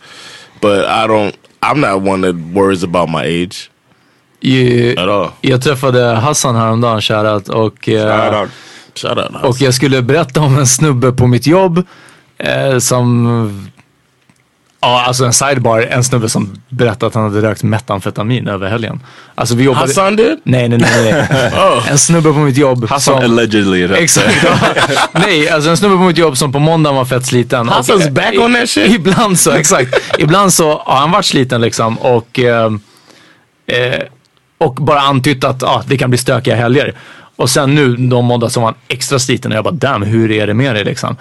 [SPEAKER 3] But I don't. I'm not one that worries about my age.
[SPEAKER 4] Yeah.
[SPEAKER 3] At all.
[SPEAKER 4] Jag träffade Hassan häromdagen, shoutout. Och, eh,
[SPEAKER 3] Shout out. Shout out.
[SPEAKER 4] och jag skulle berätta om en snubbe på mitt jobb eh, som... Ja, alltså en sidebar. En snubbe som berättade att han hade rökt metamfetamin över helgen. Alltså vi jobbade...
[SPEAKER 3] Hassan did?
[SPEAKER 4] Nej, nej, nej. nej. En snubbe på mitt jobb
[SPEAKER 5] Hassan
[SPEAKER 4] som...
[SPEAKER 5] allegedly rätt.
[SPEAKER 4] Exakt. Nej, alltså en snubbe på mitt jobb som på måndagen var fett sliten. Och,
[SPEAKER 3] Hassan's
[SPEAKER 4] eh,
[SPEAKER 3] back
[SPEAKER 4] i-
[SPEAKER 3] on that shit?
[SPEAKER 4] Ibland så, exakt. Ibland så har han varit sliten liksom och, eh, eh, och bara antytt att ah, det kan bli stökiga helger. Och sen nu de måndag som var han extra sliten och jag bara damn hur är det med dig liksom.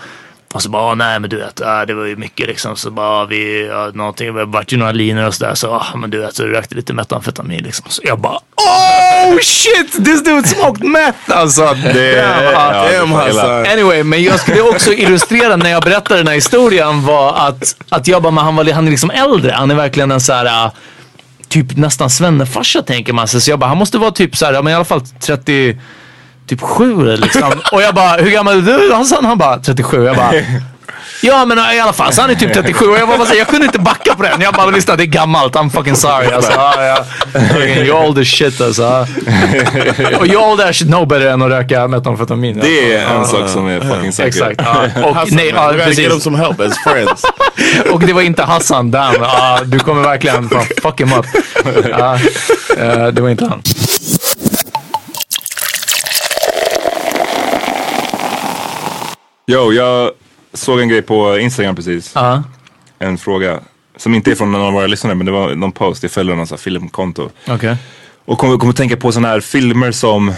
[SPEAKER 4] Och så bara, ah, nej men du vet, ah, det var ju mycket liksom. Så bara, ah, vi, ja, någonting, det vart ju några linor och sådär. Så, ah, men du vet, så rökte lite metamfetamin liksom. Så jag bara, oh shit, this dude smoked meth alltså. Damn, ah,
[SPEAKER 3] Damn, Hassan.
[SPEAKER 4] Anyway, men jag skulle också illustrera när jag berättade den här historien var att, att jag bara, men han, var, han är liksom äldre. Han är verkligen en så här äh, typ nästan svennefarsa tänker man sig. Så jag bara, han måste vara typ så här, ja, men i alla fall 30, typ 7 eller liksom. Och jag bara, hur gammal är du Hassan? Han bara, 37. Jag bara, ja men i alla fall, så han är typ 37. Och jag bara, bara så här, jag kunde inte backa på den. Jag bara, lyssna det är gammalt, I'm fucking sorry. Alltså, ja, ja. Fucking, You're old as shit alltså. Och you're old as shit, no better än att röka metamfetamin.
[SPEAKER 5] Det är en sak som är fucking säker.
[SPEAKER 4] Exakt. ja. Och,
[SPEAKER 3] Hassan,
[SPEAKER 4] nej,
[SPEAKER 3] man,
[SPEAKER 4] ja,
[SPEAKER 3] we gotta get him
[SPEAKER 4] precis.
[SPEAKER 3] some help as friends.
[SPEAKER 4] och det var inte Hassan, damn. Ja, du kommer verkligen, fan, fuck him up. Ja, eh, det var inte han.
[SPEAKER 5] Yo, jag såg en grej på Instagram precis.
[SPEAKER 4] Ja.
[SPEAKER 5] En fråga. Som inte är från någon av våra lyssnare men det var någon post. Jag följer någon sån här filmkonto.
[SPEAKER 4] Okej.
[SPEAKER 5] Och kommer kom att tänka på sådana här filmer som...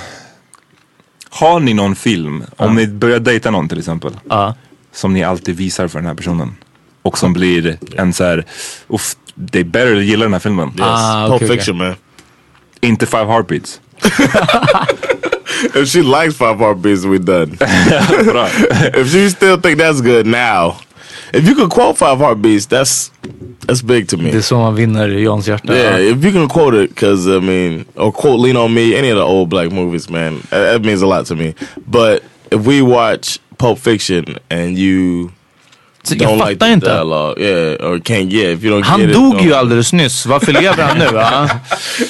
[SPEAKER 5] Har ni någon film, om ni börjar dejta någon till exempel,
[SPEAKER 4] Ja.
[SPEAKER 5] som ni alltid visar för den här personen? Och som blir en så här, uff, they better gilla den här filmen.
[SPEAKER 4] Ah,
[SPEAKER 3] Pulp
[SPEAKER 4] okay, okay.
[SPEAKER 3] Fiction, man.
[SPEAKER 5] Inte Five Heartbeats.
[SPEAKER 3] If she likes five heartbeats, we done.
[SPEAKER 5] Bra.
[SPEAKER 3] if you still think that's good now, if you can quote five heartbeats, that's that's big to me.
[SPEAKER 4] Det är så man vinner Johns hjärta.
[SPEAKER 3] yeah, if you can quote it, because I mean, or quote "Lean on Me," any of the old black movies, man, that, that means a lot to me. But if we watch Pulp Fiction and you
[SPEAKER 4] Så
[SPEAKER 3] don't
[SPEAKER 4] jag
[SPEAKER 3] like
[SPEAKER 4] fattar
[SPEAKER 3] the
[SPEAKER 4] inte.
[SPEAKER 3] dialogue, yeah, or can't get, if you don't
[SPEAKER 4] Han
[SPEAKER 3] get it,
[SPEAKER 4] dog
[SPEAKER 3] don't-
[SPEAKER 4] ju alldeles nyss. Varför lever han nu? Va?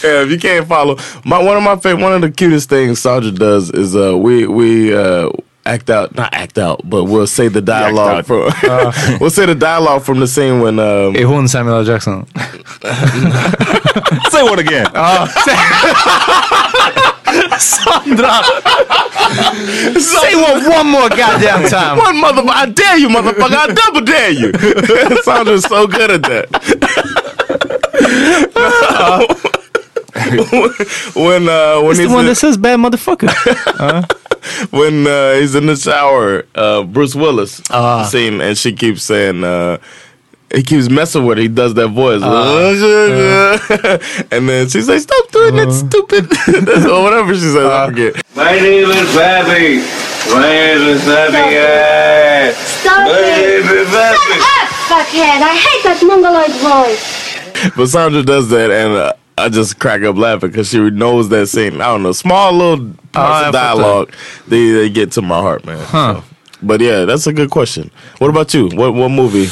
[SPEAKER 3] yeah, if you can't follow my one of my favorite one of the cutest things Sandra does is uh we we uh act out not act out but we'll say the dialogue
[SPEAKER 5] out.
[SPEAKER 3] from
[SPEAKER 4] Uh-huh.
[SPEAKER 3] we'll say the dialogue from the scene when um
[SPEAKER 4] Är hon Samuel L. Jackson?
[SPEAKER 5] Say what again?
[SPEAKER 4] Sandra! Say one, one more goddamn time!
[SPEAKER 3] one motherfucker I dare you motherfucker I double dare you Sandra's so good at that when uh when
[SPEAKER 4] It's the
[SPEAKER 3] he's
[SPEAKER 4] one
[SPEAKER 3] in-
[SPEAKER 4] that says bad motherfucker.
[SPEAKER 3] when uh, he's in the shower, uh, Bruce Willis scene, and she keeps saying, uh, he keeps messing with her. He does that voice, and then she's like, "Stop doing that, stupid," or whatever she says. I forget.
[SPEAKER 9] My name is Bobby. My name is Bobby. Yeah.
[SPEAKER 10] Stop
[SPEAKER 9] My
[SPEAKER 10] it!
[SPEAKER 9] name is
[SPEAKER 10] Shut
[SPEAKER 9] Bobby.
[SPEAKER 10] up, fuckhead! I hate that mongoloid voice.
[SPEAKER 3] But Sandra does that, and uh, I just crack up laughing because she knows that scene. I don't know, small little parts of
[SPEAKER 4] I forgot.
[SPEAKER 3] dialogue. They, they get to my heart, man. So, But yeah, that's a good question. What about you? What what movie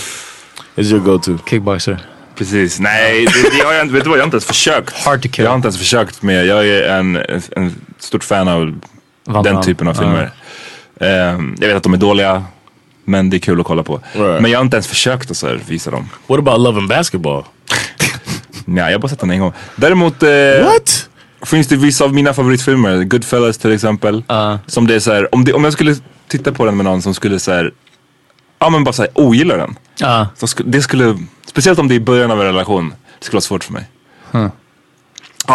[SPEAKER 3] is your go-to?
[SPEAKER 4] Kickboxer.
[SPEAKER 5] Precis, nej det, det har jag inte, vet du vad, jag har inte ens försökt.
[SPEAKER 4] Hard to kill.
[SPEAKER 5] Jag har inte ens försökt med, jag är en, en stort fan av
[SPEAKER 4] Van
[SPEAKER 5] den
[SPEAKER 4] Damme.
[SPEAKER 5] typen av filmer. Ehm, jag vet att de är dåliga, men det är kul att kolla på.
[SPEAKER 3] Right.
[SPEAKER 5] Men jag har inte ens försökt att så här, visa dem.
[SPEAKER 3] What about Love and Basketball?
[SPEAKER 5] Nej, jag har bara sett den en gång. Däremot, eh,
[SPEAKER 3] What?
[SPEAKER 5] finns det vissa av mina favoritfilmer, Goodfellas till exempel. Som det är så här, om, det, om jag skulle titta på den med någon som skulle så här, ja men bara så här, ogilla den. Så sku, det skulle, speciellt om det är i början av en relation, det skulle vara svårt för mig.
[SPEAKER 4] Huh.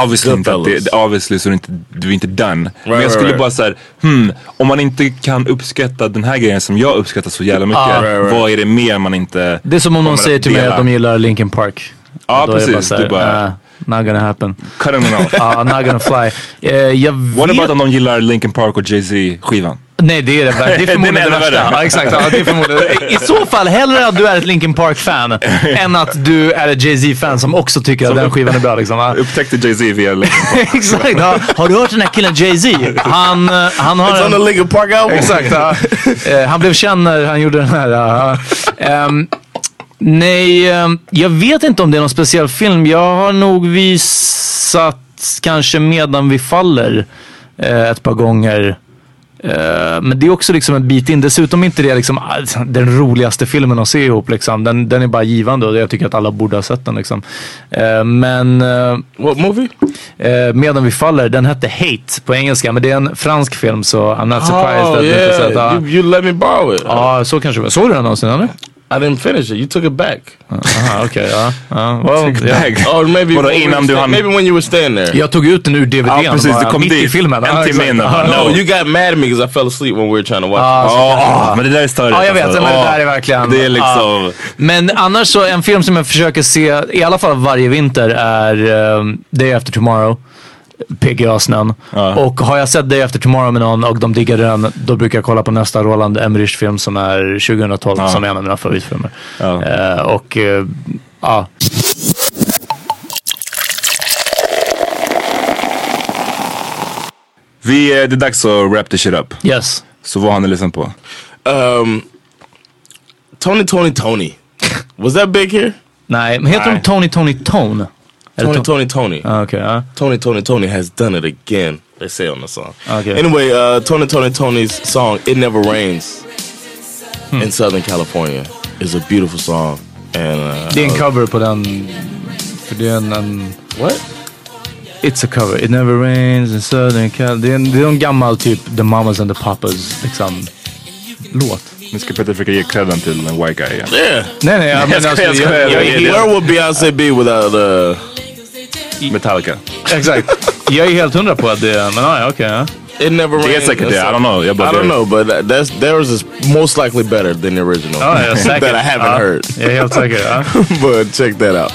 [SPEAKER 5] Obviously, inte att
[SPEAKER 4] Goodfellas.
[SPEAKER 5] det, obviously så är du inte, du är inte done. men jag
[SPEAKER 4] right,
[SPEAKER 5] skulle
[SPEAKER 4] right.
[SPEAKER 5] bara så här, hmm, om man inte kan uppskatta den här grejen som jag uppskattar så jävla mycket.
[SPEAKER 4] Ah. Right, right.
[SPEAKER 5] Vad är det mer man inte
[SPEAKER 4] Det är som om
[SPEAKER 5] kommer
[SPEAKER 4] någon
[SPEAKER 5] att
[SPEAKER 4] säger till mig
[SPEAKER 5] dela?
[SPEAKER 4] att de gillar Linkin Park.
[SPEAKER 5] Ja,
[SPEAKER 4] Då är jag
[SPEAKER 5] precis.
[SPEAKER 4] så här,
[SPEAKER 5] Du bara-
[SPEAKER 4] "Ah, not gonna happen.
[SPEAKER 5] Cut them off.
[SPEAKER 4] Ja, not gonna fly. Eh, jag
[SPEAKER 5] What
[SPEAKER 4] vet-
[SPEAKER 5] about om de gillar Linkin Park och Jay-Z skivan?
[SPEAKER 4] Nej, det är det värsta. Det är
[SPEAKER 5] Den är
[SPEAKER 4] förmodligen det
[SPEAKER 5] ännu
[SPEAKER 4] värsta.
[SPEAKER 5] värre.
[SPEAKER 4] Ja, exakt. Ja, det är förmodligen. I så fall, hellre att du är ett Linkin Park-fan än att du är ett Jay-Z-fan som också tycker att den skivan är bra. Liksom. Ja.
[SPEAKER 5] Upptäckte Jay-Z via Linkin Park.
[SPEAKER 4] Exakt. Ja. Har du hört den här killen Jay-Z? Han, eh, han har...
[SPEAKER 3] It's on the Linkin Park album.
[SPEAKER 4] Exakt. Ja. Eh, Han blev känd när han gjorde den här. ja. Ehm, nej, ehm, jag vet inte om det är någon speciell film. Jag har nog visat kanske Medan vi faller eh, ett par gånger. Eh, men det är också liksom en bit in. Dessutom är inte det liksom, ah, den roligaste filmen att se ihop. Liksom. Den, den är bara givande och jag tycker att alla borde ha sett den. Liksom. Eh, men...
[SPEAKER 3] What movie?
[SPEAKER 4] Eh, Medan vi faller, den hette Hate på engelska. Men det är en fransk film så I'm not surprised
[SPEAKER 3] oh,
[SPEAKER 4] that
[SPEAKER 3] yeah.
[SPEAKER 4] du inte sett. ah.
[SPEAKER 3] you, you let me borrow it.
[SPEAKER 4] Ja, ah, så kanske det var. Såg du den någonsin eller?
[SPEAKER 3] I didn't finish it. You took it back.
[SPEAKER 4] Aha, okej. ja. ja. Well,
[SPEAKER 3] Took it
[SPEAKER 4] ja.
[SPEAKER 3] back. Or maybe,
[SPEAKER 4] Vadå,
[SPEAKER 3] when we were
[SPEAKER 4] innan du
[SPEAKER 3] sta-
[SPEAKER 4] hann-
[SPEAKER 3] maybe when you were staying there.
[SPEAKER 4] Jag tog ut den ur DVDn.
[SPEAKER 3] Ja, precis,
[SPEAKER 4] bara
[SPEAKER 3] du kom
[SPEAKER 4] mitt i
[SPEAKER 3] dit.
[SPEAKER 4] filmen.
[SPEAKER 3] En
[SPEAKER 4] Ja,
[SPEAKER 3] timme
[SPEAKER 4] exakt.
[SPEAKER 3] innan.
[SPEAKER 4] Ja,
[SPEAKER 3] No,
[SPEAKER 4] ja.
[SPEAKER 3] Oh, you got mad at me because I fell asleep when we were trying to watch
[SPEAKER 4] Ja,
[SPEAKER 3] it.
[SPEAKER 4] så kan det vara.
[SPEAKER 3] men
[SPEAKER 5] det där är större. alltså.
[SPEAKER 4] Ja, jag vet. Men det där är verkligen...
[SPEAKER 3] Det är liksom-
[SPEAKER 4] Ja. Men annars så, en film som jag försöker se, i alla fall varje vinter, är um, Day After Tomorrow. PGA-snön. Och har jag sett Day After Tomorrow med någon och de diggar den, då brukar jag kolla på nästa Roland Emmerich film som är 2012,
[SPEAKER 5] Ja.
[SPEAKER 4] som är en av mina favoritfilmer. Eh, och, eh, ja.
[SPEAKER 5] Vi, eh, det är dags att wrap this shit up.
[SPEAKER 4] Yes.
[SPEAKER 5] Så vad har ni lyssnat på?
[SPEAKER 3] Um, Tony, Tony, Tony. Was that big here?
[SPEAKER 4] Nej, men heter de Tony, Tony, Tone? Eller
[SPEAKER 3] Tony,
[SPEAKER 4] Ton-
[SPEAKER 3] Tony, Tony.
[SPEAKER 4] okay.
[SPEAKER 3] Tony, Tony, Tony has done it again. They say on the song.
[SPEAKER 4] Okay.
[SPEAKER 3] Anyway, uh, Tony, Tony, Tony's song "It Never Rains"
[SPEAKER 4] Hmm.
[SPEAKER 3] in Southern California is a beautiful song, and uh,
[SPEAKER 4] Det är en cover på den. För det är en... en
[SPEAKER 3] What?
[SPEAKER 4] It's a cover. It never rains in southern Cal. Det är en, det är en gammal typ The Mamas and the Papas liksom låt.
[SPEAKER 5] Nu ska Peter försöka ge credden till en white guy igen.
[SPEAKER 3] Yeah.
[SPEAKER 4] Nej nej, jag menar alltså, jag, jag,
[SPEAKER 3] where would Beyonce be without uh,
[SPEAKER 5] Metallica?
[SPEAKER 4] Exakt. jag är helt hundra på att det är, men ah, ja, okej. ja.
[SPEAKER 3] It never
[SPEAKER 4] Det är
[SPEAKER 3] rains.
[SPEAKER 4] säkert det.
[SPEAKER 3] That's-
[SPEAKER 4] I don't know. Jag bara-
[SPEAKER 3] I don't know, but that- that's theirs is most likely better than the original.
[SPEAKER 4] Ja, ja, säkert.
[SPEAKER 3] that I haven't
[SPEAKER 4] Ja.
[SPEAKER 3] heard.
[SPEAKER 4] Jag är helt säker, ja.
[SPEAKER 3] but check that out.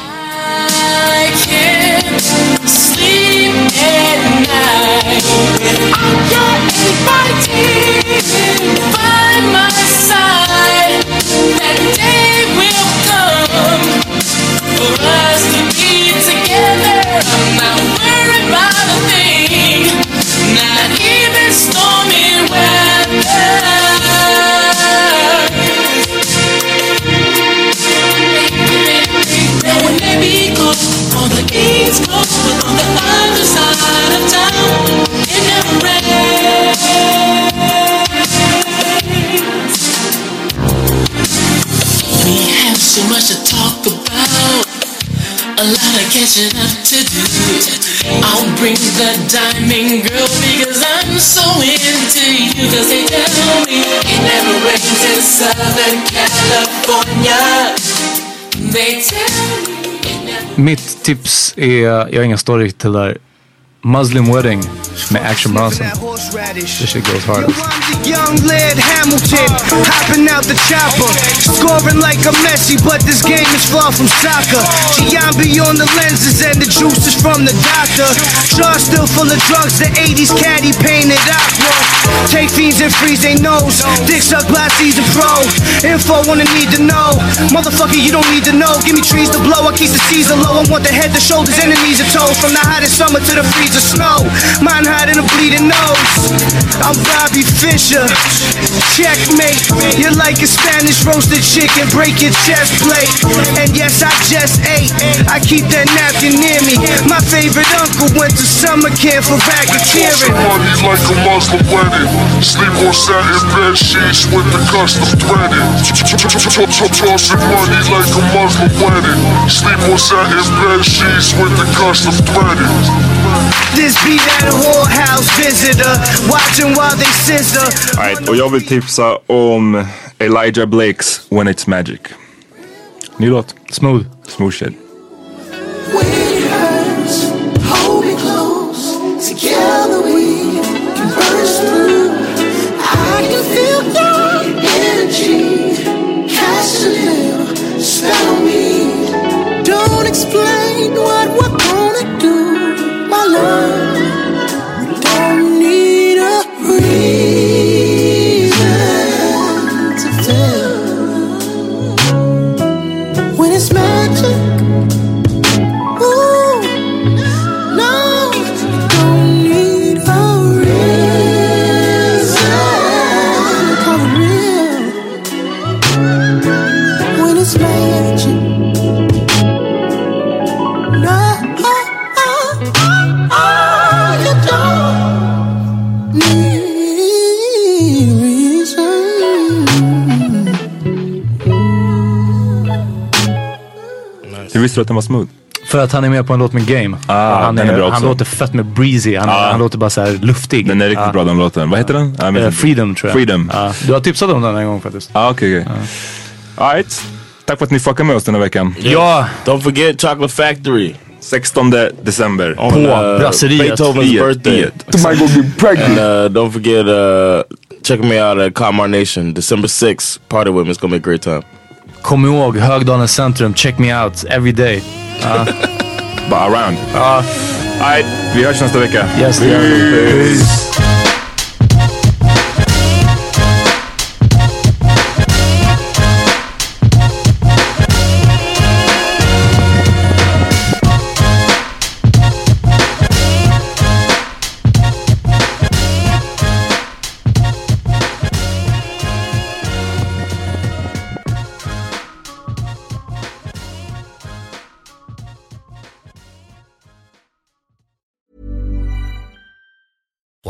[SPEAKER 6] On the East Coast, but on the other side of town, it never rains. We have so much to talk about, a lot of catching up to do. I'll bring the diamond girl because I'm so into you. Cause they tell me it never rains in Southern California. They tell me.
[SPEAKER 4] Mitt tips är, jag har inga story till det där. Muslim Wedding med Action Bronson. This shit goes hard.
[SPEAKER 11] Young Laird Hamilton, hopping out the chopper, scoring like a Messi, but this game is far from soccer. Giambi on the lenses and the juices from the doctor. Jar still full of drugs, the 80s caddy painted aqua. Take fiends and freeze they nose, dicks up last season pro. Info wanna need to know, motherfucker you don't need to know. Give me trees to blow, I keep the season low. I want the head, the shoulders, and the knees and toes. From the hottest summer to the freezer snow, mine hot in a bleeding nose. I'm Bobby Fischer. Checkmate. You're like a Spanish roasted chicken. Break your chest plate. And yes, I just ate. I keep that napkin near me. My favorite uncle went to summer camp for racketeering.
[SPEAKER 12] Money like a Muslim wedding. Sleep on satin bed sheets with the custom threaded. Tossing money like a Muslim wedding. Sleep on satin bed sheets with the custom threaded.
[SPEAKER 11] This be that whorehouse visitor, watching while they scissor.
[SPEAKER 5] Right, och jag vill tipsa om Elijah Blakes When It's Magic. Ny låt.
[SPEAKER 4] Smooth.
[SPEAKER 5] Smooth shit.
[SPEAKER 6] Hold me close, together we can burst through. I can feel your energy casting a spell on me. Don't explain what we're gonna do, my love. We don't need a reason to tell. When it's magic, ooh. No, you don't need a reason to call it real. When it's magic. No, you don't need reason.
[SPEAKER 5] Hur visste du att den var smooth?
[SPEAKER 4] För att han är med på en låt med Game.
[SPEAKER 5] Ah,
[SPEAKER 4] Och han
[SPEAKER 5] den är bra också.
[SPEAKER 4] han låter fett med breezy. Han,
[SPEAKER 5] Ah.
[SPEAKER 4] han låter bara så här luftig.
[SPEAKER 5] Den är riktigt bra den låten. Vad heter den? Ah, jag minns
[SPEAKER 4] Eh,
[SPEAKER 5] inte.
[SPEAKER 4] Freedom tror jag.
[SPEAKER 5] Freedom.
[SPEAKER 4] Ja. Du har tipsat om den en gång faktiskt.
[SPEAKER 5] Ah, okej, okej. Alright. Tack för att ni fuckade med oss den här veckan.
[SPEAKER 4] Ja!
[SPEAKER 5] Don't forget Chocolate Factory. 16 december.
[SPEAKER 3] On, uh, Beethoven's birthday.
[SPEAKER 4] Eh,
[SPEAKER 3] And uh, don't forget, uh, check me out at Comar Nation, December 6th. Party with me. It's going to be a great time.
[SPEAKER 4] Kom ihåg Högdalens centrum. Check me out every day. Ja.
[SPEAKER 5] Bara around.
[SPEAKER 4] Ja.
[SPEAKER 5] Alright, vi hörs nästa vecka.
[SPEAKER 4] Yes, det gör vi.
[SPEAKER 5] Peace.